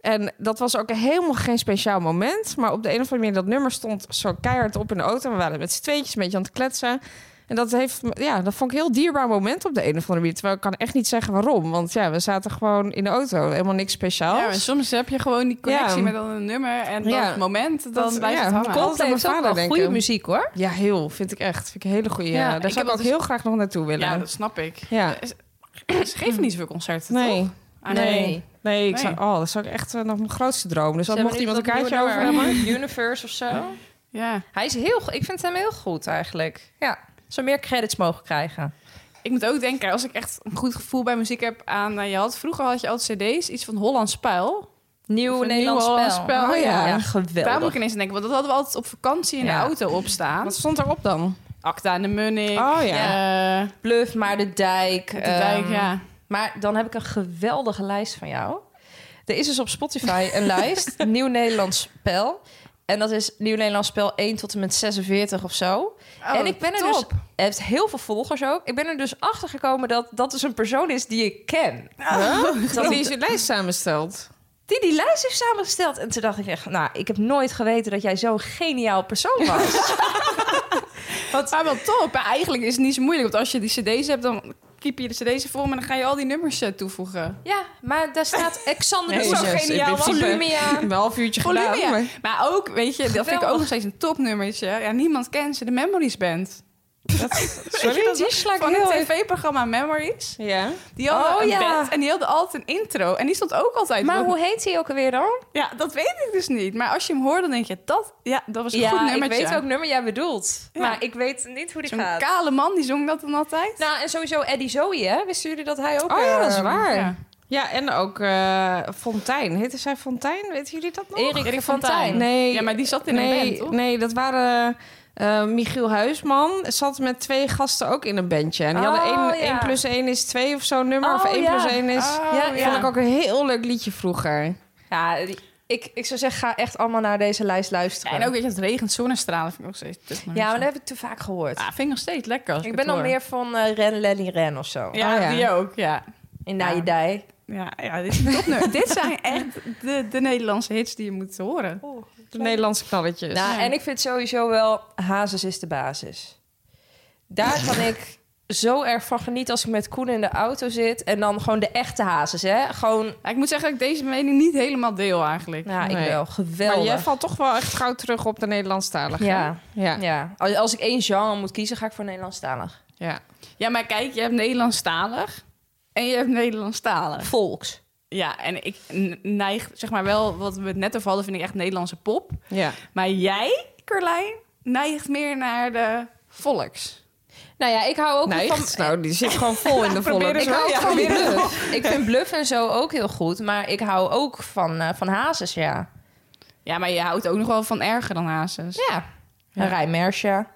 Speaker 5: En dat was ook helemaal geen speciaal moment. Maar op de een of andere manier dat nummer stond zo keihard op in de auto. We waren met z'n tweetjes een beetje aan het kletsen. En dat heeft, me- ja, dat vond ik een heel dierbaar moment op de een of andere manier. Terwijl ik kan echt niet zeggen waarom. Want ja, we zaten gewoon in de auto. Helemaal niks speciaals.
Speaker 6: Ja, maar soms heb je gewoon die connectie
Speaker 5: Ja.
Speaker 6: met dan een nummer en dat
Speaker 5: Ja.
Speaker 6: moment, dan
Speaker 5: Dat-
Speaker 6: blijft
Speaker 5: ja,
Speaker 6: het hangen.
Speaker 5: klopt.
Speaker 7: Dat
Speaker 5: aan
Speaker 7: is
Speaker 5: mijn
Speaker 7: ook
Speaker 5: vader
Speaker 7: wel
Speaker 5: denken.
Speaker 7: goede muziek, hoor.
Speaker 5: Ja, heel. Vind ik echt. Vind ik een hele goede.
Speaker 7: Ja,
Speaker 5: Ja, daar
Speaker 6: ik
Speaker 5: zou
Speaker 6: heb
Speaker 5: ik ook
Speaker 6: dat dus-
Speaker 5: heel graag nog naartoe willen.
Speaker 6: Ja,
Speaker 5: Ja,
Speaker 6: dat snap ik. Ze geven niet zoveel concerten,
Speaker 5: Nee.
Speaker 6: toch? Ah,
Speaker 5: Nee. Nee, ik
Speaker 6: Nee.
Speaker 5: Zou, oh, dat zou ik echt eh, nog mijn grootste droom. Dus
Speaker 7: Ze
Speaker 5: dat
Speaker 7: hebben
Speaker 5: mocht
Speaker 7: nu
Speaker 5: iemand een
Speaker 7: dat
Speaker 5: kaartje
Speaker 7: nieuwe
Speaker 5: over
Speaker 7: nummer,
Speaker 5: hebben.
Speaker 7: Universe of zo.
Speaker 6: Ja.
Speaker 7: Hij is heel... go- Ik vind hem heel goed, eigenlijk. Ja. Zo meer credits mogen krijgen.
Speaker 6: Ik moet ook denken, als ik echt een goed gevoel bij muziek heb aan... nou, je had, vroeger had je altijd cd's, iets van Hollands Spijl. Of
Speaker 7: Nieuw
Speaker 6: een
Speaker 7: Nederlands
Speaker 6: nieuw
Speaker 7: spel.
Speaker 6: Hollands spel,
Speaker 7: Oh, ja.
Speaker 5: ja.
Speaker 7: geweldig.
Speaker 6: Daar moet ik ineens aan denken, want dat hadden we altijd op vakantie in
Speaker 7: Ja.
Speaker 6: de auto opstaan.
Speaker 5: Wat stond erop dan?
Speaker 6: Acta en de Munnik.
Speaker 5: Oh ja.
Speaker 6: eh,
Speaker 7: Bluff, maar de dijk.
Speaker 6: de dijk,
Speaker 7: ehm,
Speaker 6: ja.
Speaker 7: Maar dan heb ik een geweldige lijst van jou. Er is dus op Spotify een lijst, Nieuw Nederlands Spel. En dat is Nieuw Nederlands Spel 1 tot en met 46 of zo.
Speaker 6: Oh,
Speaker 7: en ik ben er dus... Hij heeft heel veel volgers ook. Ik ben er dus achter gekomen dat dat dus een persoon is die ik ken.
Speaker 5: Dat die zijn lijst samenstelt.
Speaker 7: Die die lijst heeft samengesteld. En toen dacht ik echt, nou, ik heb nooit geweten dat jij zo'n geniaal persoon was.
Speaker 6: dus- Wat? Maar wel top. Maar eigenlijk is het niet zo moeilijk, want als je die cd's hebt, dan keep je de cd's vol en dan ga je al die nummers eh, toevoegen.
Speaker 7: Ja, maar daar staat Alexander
Speaker 5: Nee,
Speaker 7: nee,
Speaker 5: zo
Speaker 7: geniaal.
Speaker 5: in principe.
Speaker 7: Volumia.
Speaker 5: Een half uurtje gedaan.
Speaker 6: Volumia.
Speaker 5: maar-
Speaker 6: Maar ook, weet je, dat vind ik
Speaker 7: Geweldig.
Speaker 6: ook nog steeds een topnummertje. Ja, niemand kent ze, de Memories Band.
Speaker 7: Sorry, die sla ik
Speaker 6: Van
Speaker 7: heel
Speaker 6: het
Speaker 7: even.
Speaker 6: tv-programma Memories.
Speaker 7: Ja.
Speaker 6: Die hadden
Speaker 7: Oh,
Speaker 6: een
Speaker 7: ja.
Speaker 6: band en die hadden altijd een intro. En die stond ook altijd...
Speaker 7: Maar
Speaker 6: op-
Speaker 7: hoe heet hij ook alweer dan?
Speaker 6: Ja, dat weet ik dus niet. Maar als je hem hoort, dan denk je, dat, ja, dat was een goed
Speaker 7: Ja, ik
Speaker 6: nummertje.
Speaker 7: weet welk nummer jij bedoelt.
Speaker 6: Ja.
Speaker 7: Maar ik weet niet hoe die
Speaker 6: Zo'n
Speaker 7: gaat.
Speaker 6: kale man, die zong dat dan altijd.
Speaker 7: Nou, en sowieso Eddie Zoe, hè? Wisten jullie dat hij ook...
Speaker 5: Oh ja, dat is
Speaker 7: eh,
Speaker 5: waar.
Speaker 6: Ehm, ja.
Speaker 5: Ja, en ook eh, Fontijn. Heette zij Fontijn? Weten jullie dat nog?
Speaker 7: Erik,
Speaker 6: Erik
Speaker 7: Fontijn.
Speaker 6: Fontijn.
Speaker 5: Nee.
Speaker 6: Ja, maar die zat in
Speaker 5: nee,
Speaker 6: een band, toch?
Speaker 5: Nee, dat waren... eh, Michiel Huisman zat met twee gasten ook in een bandje. En die
Speaker 7: Oh,
Speaker 5: hadden één
Speaker 7: ja.
Speaker 5: 1 plus 1 is 2 of zo'n nummer. of
Speaker 7: Oh,
Speaker 5: 1
Speaker 7: ja.
Speaker 5: plus 1 is...
Speaker 6: Oh,
Speaker 7: Ja, ja.
Speaker 5: Vond ik ook een heel leuk liedje vroeger.
Speaker 7: Ja, die- ik, ik zou zeggen, ga echt allemaal naar deze lijst luisteren.
Speaker 6: En ook, weet je, het regent zonnestralen vind ik nog steeds... Dat is maar
Speaker 7: ja,
Speaker 6: niet
Speaker 7: maar
Speaker 6: zo.
Speaker 7: dat heb ik te vaak gehoord.
Speaker 6: Ah, vind ik nog steeds lekker als ik,
Speaker 7: ik ben
Speaker 6: het
Speaker 7: al
Speaker 6: hoor.
Speaker 7: meer Oh, van eh, Ren, Lenny, Ren of zo.
Speaker 6: Ja,
Speaker 5: Ah, ja.
Speaker 6: die ook, ja.
Speaker 7: In
Speaker 6: Ja.
Speaker 7: Naidai.
Speaker 6: Ja, ja dit, is een topnummer. dit zijn echt de, de Nederlandse hits die je moet horen.
Speaker 5: De Nederlandse knalletjes.
Speaker 7: Oh, Nou, en ik vind sowieso wel, Hazes is de basis. Daar kan ik zo erg van genieten als ik met Koen in de auto zit. En dan gewoon de echte Hazes, hè. Gewoon,
Speaker 6: Ja, ik moet zeggen dat ik deze mening niet helemaal deel eigenlijk.
Speaker 7: nou, ik
Speaker 5: Nee.
Speaker 7: wel.
Speaker 5: maar
Speaker 7: Geweldig.
Speaker 5: jij valt toch wel echt gauw terug op de Nederlandstalige.
Speaker 7: Ja.
Speaker 5: Ja. ja.
Speaker 7: Ja, als als ik één genre moet kiezen, ga ik voor Nederlandstalig.
Speaker 6: Ja, maar kijk, je hebt Nederlandstalig en je hebt Nederlandstalig.
Speaker 7: Volks.
Speaker 6: Ja, en ik n- neig, zeg maar wel, wat we het net over hadden, vind ik echt Nederlandse pop.
Speaker 5: Ja.
Speaker 6: Maar jij, Carlijn, neigt meer naar de volks.
Speaker 7: Nou ja, ik hou ook
Speaker 5: Nee,
Speaker 7: van...
Speaker 5: echt? nou, die zit gewoon vol in de volle.
Speaker 7: Ik hou ook van bluff. Ik vind bluff en zo ook heel goed. Maar ik hou ook van, eh, van hazes, ja.
Speaker 6: Ja, maar je houdt ook nog wel van erger dan Hazes.
Speaker 7: Ja. Een rijmersje.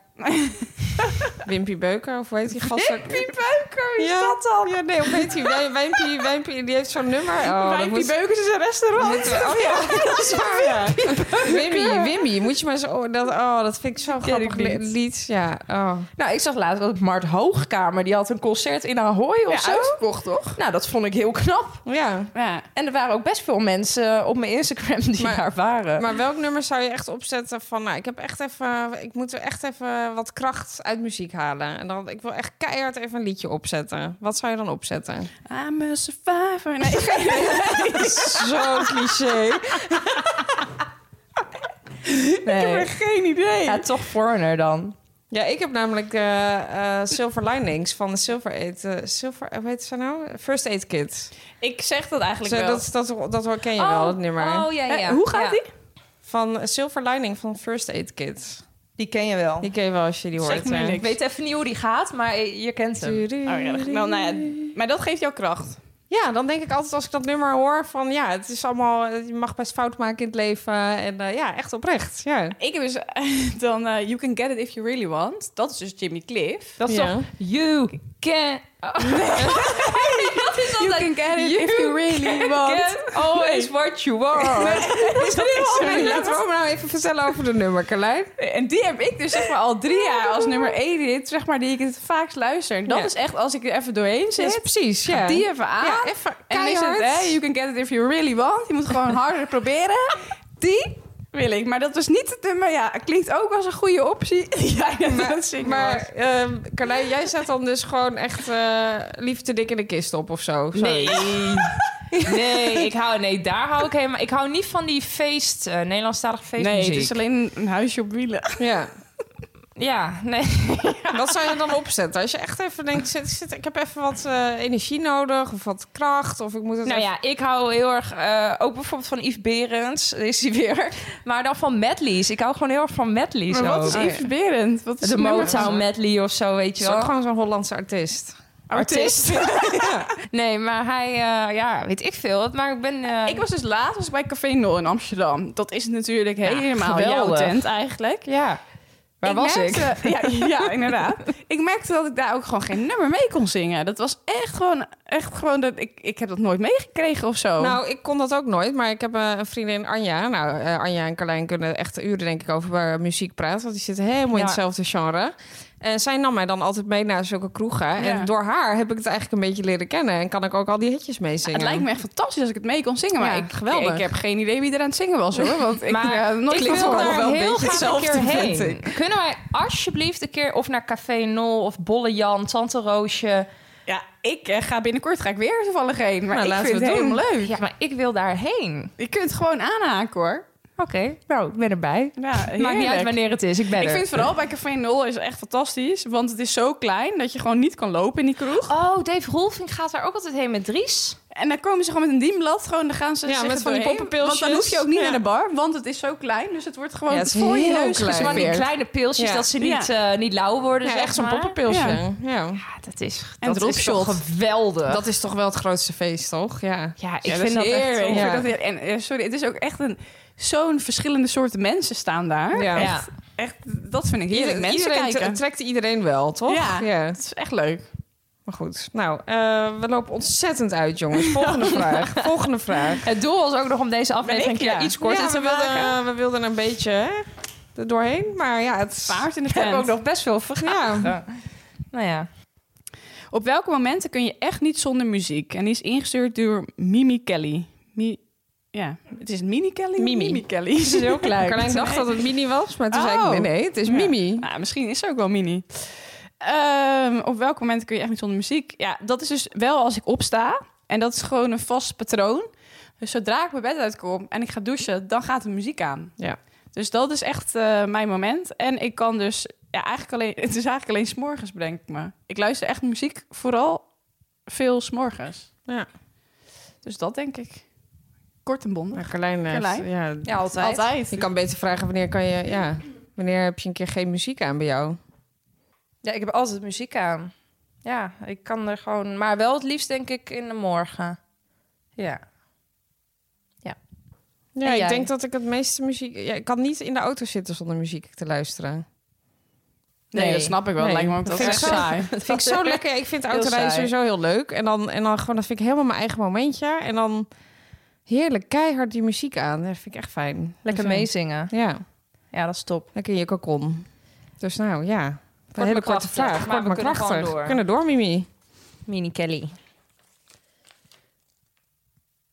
Speaker 5: Wimpy Beuker, of hoe heet die gast? Wimpy Beuker, wie is dat dan? Ja, nee, hoe heet die? Wij- Wijmpie, Wijmpie, die heeft zo'n nummer. Oh, dat
Speaker 6: Wijmpie
Speaker 5: moet-
Speaker 6: Beukers is een restaurant.
Speaker 5: moeten we- Oh ja, dat is waar, ja. Wimmy, Wimmy, moet je maar zo... oh, Dat, oh, dat vind ik zo'n grappig
Speaker 6: ik niet.
Speaker 5: li- lied. Ja, oh.
Speaker 7: Nou, ik zag laatst ook Mart Hoogkamer. Die had een concert in Ahoy of zo.
Speaker 6: uitverkocht, toch?
Speaker 7: Nou, dat vond ik heel knap.
Speaker 5: Ja,
Speaker 6: Ja.
Speaker 7: En er waren ook best veel mensen eh, op mijn Instagram die
Speaker 5: Maar-
Speaker 7: daar waren.
Speaker 5: maar welk nummer zou je echt opzetten van... Nou, ik heb echt even... Ik moet er echt even wat kracht uit muziek halen. En dan, ik wil echt keihard even een liedje opzetten. Wat zou je dan opzetten?
Speaker 6: I'm a survivor. Nee, ik-
Speaker 5: Zo'n cliché.
Speaker 7: nee.
Speaker 5: Geen idee.
Speaker 7: Ja, toch foreigner dan.
Speaker 5: Ja, ik heb namelijk eh, eh, Silver Linings van de Silver Aid. eh, Silver, hoe heet ze nou? First Aid Kit.
Speaker 6: ik zeg dat eigenlijk
Speaker 5: Zo,
Speaker 6: wel.
Speaker 5: dat, dat, dat hoor- ken je wel, dat nummer.
Speaker 7: Oh, ja, ja.
Speaker 6: Eh, hoe gaat
Speaker 7: Ja.
Speaker 6: die?
Speaker 5: Van eh, Silver Lining van First Aid Kit.
Speaker 7: Die ken je wel.
Speaker 5: Die ken je wel als je die
Speaker 6: Zeg
Speaker 5: hoort.
Speaker 6: me
Speaker 5: hè.
Speaker 6: niks.
Speaker 7: Ik weet even niet hoe die gaat, maar je kent hem.
Speaker 6: Oh, ja, dat- nou, nou ja, maar dat geeft jou kracht.
Speaker 5: Ja, dan denk ik altijd als ik dat nummer hoor van... Ja, het is allemaal... eh, Je mag best fout maken in het leven. En eh, ja, echt oprecht. Ja.
Speaker 6: Ik heb dus eh, dan eh, You Can Get It If You Really Want. Dat is dus Jimmy Cliff.
Speaker 5: Dat is
Speaker 7: Ja.
Speaker 5: toch...
Speaker 7: You can... Oh. dat is altijd... You can get
Speaker 6: If You Really Want.
Speaker 7: always what you are.
Speaker 5: Is dat Sorry, Oh, laten we nou even vertellen over de nummer, Carlijn.
Speaker 6: En die heb ik dus zeg maar al drie jaar als nummer één hit, zeg maar, die ik het vaakst luister. En dat
Speaker 5: Ja.
Speaker 6: is echt als ik er even doorheen
Speaker 5: Ja,
Speaker 6: zit,
Speaker 5: precies, ja.
Speaker 6: die even aan.
Speaker 5: Ja, even
Speaker 6: en dan is het,
Speaker 5: keihard.
Speaker 6: hè, You Can Get It If You Really Want. Je moet gewoon harder proberen. Die wil ik. Maar dat was niet het nummer. Ja, het klinkt ook als een goede optie. Ja, dat zingen was.
Speaker 5: Maar ehm Carlijn, jij zet dan dus gewoon echt eh liefde te dik in de kist op of
Speaker 6: Oh,
Speaker 5: zo. Sorry.
Speaker 7: Nee. Nee, ik hou, nee, daar hou ik helemaal... Ik hou niet van die feest, eh Nederlandstalige
Speaker 6: Nee,
Speaker 7: feestmuziek.
Speaker 6: het is alleen een huisje op wielen.
Speaker 5: Ja.
Speaker 7: Ja, nee.
Speaker 5: Wat zou je dan opzetten? Als je echt even denkt, zit, zit- ik heb even wat eh, energie nodig of wat kracht of ik moet het
Speaker 7: Nou ja, ik hou heel erg... eh, ook bijvoorbeeld van Yves Berends, daar is hij weer. Maar dan van medleys. Ik hou gewoon heel erg van medleys
Speaker 6: Maar wat
Speaker 7: ook.
Speaker 6: is
Speaker 5: Oh, ja.
Speaker 6: Yves Berend? Wat is
Speaker 7: De
Speaker 6: het nummer
Speaker 7: Motown
Speaker 6: van-
Speaker 7: medley of zo, weet je
Speaker 5: is ook
Speaker 7: wel.
Speaker 5: gewoon zo'n Hollandse artiest.
Speaker 6: Artiest.
Speaker 7: Nee, maar hij... eh, ja, weet ik veel. Maar ik ben... eh,
Speaker 6: Ik was dus laatst was bij Café Nol in Amsterdam. Dat is natuurlijk helemaal jouw
Speaker 7: geweldig.
Speaker 6: tent eigenlijk.
Speaker 7: Ja. Waar was ik?
Speaker 6: merkte- Ja, ja, inderdaad. ik merkte dat ik daar ook gewoon geen nummer mee kon zingen. Dat was echt gewoon, echt gewoon dat ik, ik heb dat nooit meegekregen of zo.
Speaker 5: Nou, ik kon dat ook nooit, maar ik heb eh, een vriendin, Anja. Nou, eh, Anja en Carlijn kunnen echt uren, denk ik, over eh, muziek praten. Want die zitten helemaal in
Speaker 7: Ja.
Speaker 5: hetzelfde genre. En zij nam mij dan altijd mee naar zulke kroegen. En door haar heb ik het eigenlijk een beetje leren kennen. En kan ik ook al die hitjes meezingen.
Speaker 6: het lijkt me echt fantastisch als ik het mee kon zingen, maar
Speaker 5: Ja,
Speaker 6: ik,
Speaker 5: geweldig.
Speaker 6: ik heb geen idee wie er aan het zingen was hoor. Want ik,
Speaker 7: Maar
Speaker 6: eh, nooit
Speaker 7: ik wil
Speaker 6: het
Speaker 7: daar
Speaker 6: allemaal wel een
Speaker 7: heel
Speaker 6: beetje
Speaker 7: graag een keer
Speaker 6: hetzelfde,
Speaker 7: heen.
Speaker 6: vind ik.
Speaker 7: Kunnen wij alsjeblieft een keer of naar Café Nol of Bolle Jan, Tante Roosje...
Speaker 6: Ja, ik eh, ga binnenkort ga ik weer toevallig heen. Maar
Speaker 7: Nou,
Speaker 6: ik
Speaker 7: laten
Speaker 6: vind
Speaker 7: we
Speaker 6: het
Speaker 7: het
Speaker 6: helemaal leuk.
Speaker 7: Ja, maar ik wil daarheen.
Speaker 6: Je kunt het gewoon aanhaken hoor.
Speaker 7: Oké, nou, ik ben erbij.
Speaker 6: Ja,
Speaker 7: Maakt niet
Speaker 6: heerlijk.
Speaker 7: uit wanneer het is, ik ben
Speaker 6: Ik
Speaker 7: er.
Speaker 6: vind vooral bij Café Nol is echt fantastisch. Want het is zo klein dat je gewoon niet kan lopen in die kroeg.
Speaker 7: Oh, Dave Rolfing gaat daar ook altijd heen met Dries.
Speaker 6: En dan komen ze gewoon met een dienblad. Gewoon, dan gaan ze
Speaker 7: Ja,
Speaker 6: zich
Speaker 7: met
Speaker 6: er
Speaker 7: van die
Speaker 6: doorheen.
Speaker 7: poppenpilsjes.
Speaker 6: Want dan hoef je ook niet
Speaker 7: Ja.
Speaker 6: naar de bar. Want het is zo klein. Dus het wordt gewoon
Speaker 5: Ja, het is
Speaker 6: voor je
Speaker 5: heel
Speaker 6: neus
Speaker 5: klein.
Speaker 7: Van die
Speaker 6: geserveerd.
Speaker 7: kleine pilsjes,
Speaker 5: Ja.
Speaker 7: dat ze niet, eh, niet lauw worden.
Speaker 5: Ja,
Speaker 7: zeg
Speaker 5: echt zo'n
Speaker 7: maar.
Speaker 5: poppenpilsje.
Speaker 6: Ja.
Speaker 5: Ja.
Speaker 7: Ja, dat is,
Speaker 6: En
Speaker 7: dat is toch
Speaker 6: dropshot.
Speaker 7: geweldig.
Speaker 5: Dat is toch wel het grootste feest, toch? Ja.
Speaker 7: ja, ik
Speaker 6: Ja,
Speaker 7: vind dat,
Speaker 6: is
Speaker 7: echt...
Speaker 6: heerlijk.
Speaker 7: zo-
Speaker 6: Ik
Speaker 5: Ja.
Speaker 6: vind dat- en, eh, sorry, het is ook echt een, zo'n verschillende soorten mensen staan daar.
Speaker 5: Ja.
Speaker 7: Ja.
Speaker 6: Echt, dat vind ik heerlijk.
Speaker 5: Ieder-
Speaker 6: mensen
Speaker 5: iedereen
Speaker 6: kijken.
Speaker 5: t- trekt iedereen wel, toch?
Speaker 6: Ja. Het is echt leuk.
Speaker 5: Maar goed, nou, eh, we lopen ontzettend uit, jongens. Volgende vraag. Volgende vraag.
Speaker 7: Het doel was ook nog om deze aflevering een
Speaker 6: ik?
Speaker 7: keer
Speaker 6: Ja.
Speaker 7: iets korter
Speaker 5: Ja,
Speaker 7: te
Speaker 5: we
Speaker 7: maken.
Speaker 5: wilden, eh, we wilden een beetje hè, er doorheen, maar ja, het
Speaker 6: Paard in de
Speaker 5: We hebben ook
Speaker 6: tent.
Speaker 5: nog best veel vragen. Ja.
Speaker 7: Nou ja.
Speaker 6: Op welke momenten kun je echt niet zonder muziek? En die is ingestuurd door Mimi Kelly. Mi- ja, het is Mini Kelly?
Speaker 5: Mimi.
Speaker 6: Kelly. Is heel klein.
Speaker 5: Carlijn dacht dat het Mini was, maar toen zei ik,
Speaker 6: Oh.
Speaker 5: nee, nee, het is
Speaker 6: Ja.
Speaker 5: Mimi.
Speaker 6: Nou, misschien is ze ook wel Mini. Ehm, op welke momenten kun je echt niet zonder muziek? Ja, dat is dus wel als ik opsta. En dat is gewoon een vast patroon. Dus zodra ik mijn bed uitkom en ik ga douchen, dan gaat de muziek aan.
Speaker 5: Ja.
Speaker 6: Dus dat is echt eh, mijn moment. En ik kan dus ja, eigenlijk alleen, het is eigenlijk alleen s'morgens, bedenk ik me. Ik luister echt muziek, vooral veel s'morgens.
Speaker 5: Ja.
Speaker 6: Dus dat denk ik. Kort en bondig.
Speaker 5: Nou, Carlijn, heeft-
Speaker 6: Carlijn?
Speaker 5: Ja,
Speaker 7: ja, altijd.
Speaker 5: je kan beter vragen wanneer kan je, ja, wanneer heb je een keer geen muziek aan bij jou?
Speaker 7: Ja, ik heb altijd muziek aan. Ja, ik kan er gewoon... Maar wel het liefst denk ik in de morgen. Ja.
Speaker 5: Ja,
Speaker 7: En
Speaker 5: ik
Speaker 7: jij?
Speaker 5: denk dat ik het meeste muziek, ja, ik kan niet in de auto zitten zonder muziek te luisteren.
Speaker 6: Nee,
Speaker 7: Nee.
Speaker 6: dat snap ik wel.
Speaker 5: Nee.
Speaker 6: Lijkt me ook
Speaker 5: Dat
Speaker 6: dat
Speaker 5: vind
Speaker 6: echt
Speaker 5: ik zo-
Speaker 6: saai.
Speaker 5: Dat vind ik zo lekker. Ik vind
Speaker 7: Heel
Speaker 5: autorijden
Speaker 7: saai.
Speaker 5: sowieso heel leuk. En dan, en dan gewoon, dat vind ik helemaal mijn eigen momentje. En dan heerlijk keihard die muziek aan. Dat vind ik echt fijn.
Speaker 7: Lekker
Speaker 5: Dus, eh,
Speaker 7: meezingen.
Speaker 5: Ja,
Speaker 7: Ja, dat is top.
Speaker 5: lekker in je kokon. Dus nou, ja. Een
Speaker 7: maar
Speaker 5: hele korte
Speaker 7: krachtig,
Speaker 5: vraag.
Speaker 7: maar
Speaker 5: Kort
Speaker 7: we
Speaker 5: maar
Speaker 7: kunnen gewoon
Speaker 5: krachtig.
Speaker 7: door.
Speaker 5: We kunnen door, Mimi.
Speaker 7: Mini Kelly.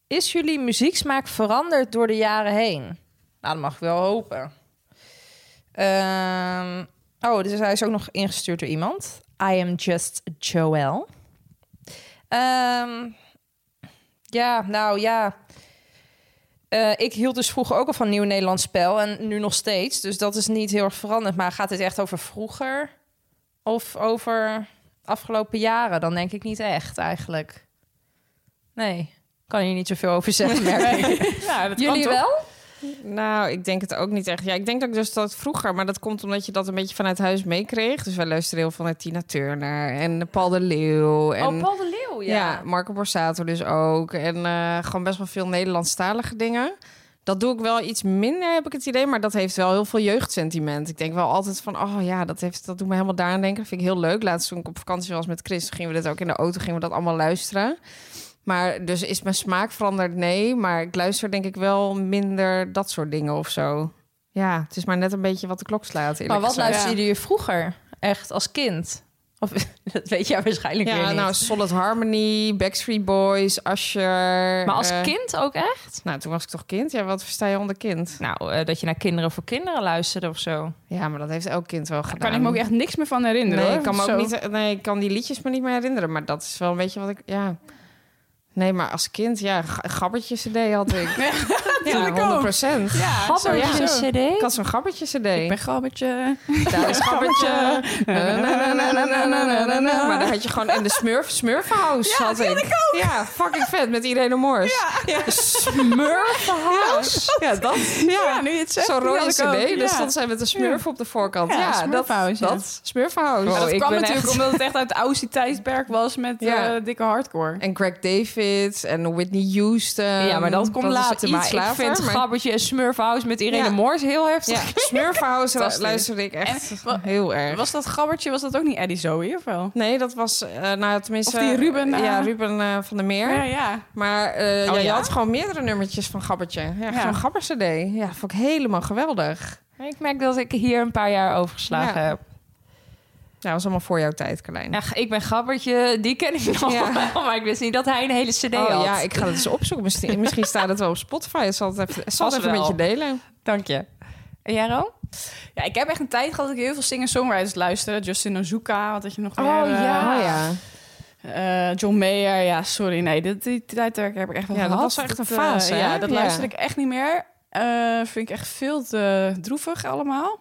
Speaker 7: Is jullie muzieksmaak veranderd door de jaren heen? Nou, dat mag ik wel hopen. Ehm, oh, dus hij is ook nog ingestuurd door iemand. I am just Joel. Ehm, ja, nou ja. Eh, ik hield dus vroeger ook al van Nieuw Nederlands Spel en nu nog steeds. Dus dat is niet heel erg veranderd. Maar gaat dit echt over vroeger? Of over afgelopen jaren, dan denk ik niet echt eigenlijk. Nee, kan hier niet zoveel over zeggen. merk ik.
Speaker 6: Ja, dat
Speaker 7: Jullie
Speaker 6: kan toch?
Speaker 7: wel?
Speaker 5: Nou, ik denk het ook niet echt. Ja, ik denk dat ik dus dat vroeger, maar dat komt omdat je dat een beetje vanuit huis meekreeg. Dus wij luisteren heel veel naar Tina Turner en Paul de Leeuw. En...
Speaker 7: Oh, Paul de Leeuw, ja.
Speaker 5: Ja, Marco Borsato dus ook. En eh, gewoon best wel veel Nederlandstalige dingen. Dat doe ik wel iets minder, heb ik het idee. Maar dat heeft wel heel veel jeugdsentiment. Ik denk wel altijd van, oh ja, dat, heeft, dat doet me helemaal daaraan denken. Dat vind ik heel leuk. Laatst toen ik op vakantie was met Chris, gingen we dit ook in de auto, gingen we dat allemaal luisteren. Maar dus is mijn smaak veranderd? Nee. Maar ik luister denk ik wel minder dat soort dingen of zo. Ja, het is maar net een beetje wat de klok slaat. eerlijk
Speaker 7: Maar wat
Speaker 5: gezegd.
Speaker 7: luisterden jullie vroeger echt als kind? Of dat weet jij waarschijnlijk weer
Speaker 5: Ja,
Speaker 7: niet.
Speaker 5: nou, Solid Harmony, Backstreet Boys, Usher.
Speaker 7: maar als
Speaker 5: eh,
Speaker 7: kind ook echt?
Speaker 5: Nou, toen was ik toch kind? Ja, wat versta je onder kind?
Speaker 7: Nou, eh, dat je naar kinderen voor kinderen luisterde of zo. Nou,
Speaker 5: Ja, maar dat heeft elk kind wel
Speaker 6: Daar
Speaker 5: gedaan.
Speaker 6: kan ik me ook echt niks meer van herinneren.
Speaker 5: Nee,
Speaker 6: hoor.
Speaker 5: ik kan, me
Speaker 6: Zo.
Speaker 5: ook niet, nee, ik kan die liedjes me niet meer herinneren. Maar dat is wel een beetje wat ik... Ja. Nee, maar als kind, ja, ga- gabbertjes cd had ik. ja,
Speaker 6: ik ook.
Speaker 5: 100 procent.
Speaker 6: Ja,
Speaker 7: Gabbertje
Speaker 6: sowieso.
Speaker 5: Ik
Speaker 7: CD?
Speaker 5: had zo'n gabbertje cd.
Speaker 6: Ik ben gabbertje.
Speaker 5: Daar is gabbertje. Na, na, na, na, na, na, na, na, na. Maar dan had je gewoon... En de Smurf, Smurf House had ik. Ja, fucking vet, met Irene Moors. Ja. Smurf House. Ja, dat...
Speaker 6: Ja, nu je het zegt.
Speaker 5: Zo'n
Speaker 6: die
Speaker 5: rode
Speaker 6: had ik ook.
Speaker 5: cd, dus
Speaker 6: Ja.
Speaker 5: dan zijn met een smurf op de voorkant.
Speaker 6: Ja,
Speaker 5: Ja, Oh,
Speaker 6: Smurfhouse,
Speaker 5: dat,
Speaker 6: ja.
Speaker 5: dat Smurfhouse.
Speaker 6: Maar dat
Speaker 7: ik
Speaker 6: kwam
Speaker 7: ben
Speaker 6: natuurlijk
Speaker 7: echt-
Speaker 6: omdat het echt uit het Aussie tijdperk was met
Speaker 5: Ja.
Speaker 6: eh, dikke hardcore.
Speaker 5: En Greg David en Whitney Houston.
Speaker 7: Ja, maar dat komt
Speaker 5: is
Speaker 7: later.
Speaker 5: iets
Speaker 7: Maar ik
Speaker 5: later,
Speaker 7: vind
Speaker 5: maar-
Speaker 7: Gabbertje en Smurfhouse met Irene
Speaker 5: Ja.
Speaker 7: Moors heel heftig.
Speaker 5: Ja, Smurfhouse lu-
Speaker 7: Fantastisch.
Speaker 5: luisterde ik echt
Speaker 6: wa-
Speaker 5: heel erg.
Speaker 6: Was dat gabbertje, was dat ook niet Eddie Zoe of wel?
Speaker 5: Nee, dat was, eh, nou tenminste...
Speaker 6: Of die Ruben,
Speaker 5: eh, ja,
Speaker 6: eh,
Speaker 5: Ruben eh, van der Meer.
Speaker 6: Ja, ja.
Speaker 5: Maar eh, ja, je
Speaker 6: ja?
Speaker 5: had gewoon meerdere nummertjes van Gabbertje. Ja,
Speaker 6: Ja.
Speaker 5: gewoon Gabber CD. Ja, vond ik helemaal geweldig.
Speaker 7: Ik merk dat ik hier een paar jaar over geslagen
Speaker 5: Ja.
Speaker 7: heb.
Speaker 5: Ja, was allemaal voor jouw tijd, Carlijn.
Speaker 7: Echt, ik ben Gabbertje, die ken ik nog
Speaker 5: Ja.
Speaker 7: wel, maar ik wist niet dat hij een hele cd
Speaker 5: oh
Speaker 7: had.
Speaker 5: ja, ik ga het eens opzoeken. Misschien, misschien staat het wel op Spotify. Ik zal het even, ik zal het
Speaker 7: Vast
Speaker 5: even met
Speaker 7: wel.
Speaker 5: je delen.
Speaker 7: Dank je. En jij, Ro?
Speaker 6: Ja, ik heb echt een tijd gehad dat ik heel veel singer-songwriters luisterde. Justin Ozuka, wat had je nog meer?
Speaker 7: Oh,
Speaker 6: eh,
Speaker 7: ja.
Speaker 5: Oh ja.
Speaker 6: Eh, John Mayer, ja, sorry. Nee, dit, die tijdperk heb ik echt wel
Speaker 5: Ja, dat
Speaker 6: gehad.
Speaker 5: was echt een
Speaker 6: eh,
Speaker 5: fase, hè?
Speaker 6: ja, dat
Speaker 5: Ja.
Speaker 6: luister ik echt niet meer. Eh, vind ik echt veel te droevig allemaal.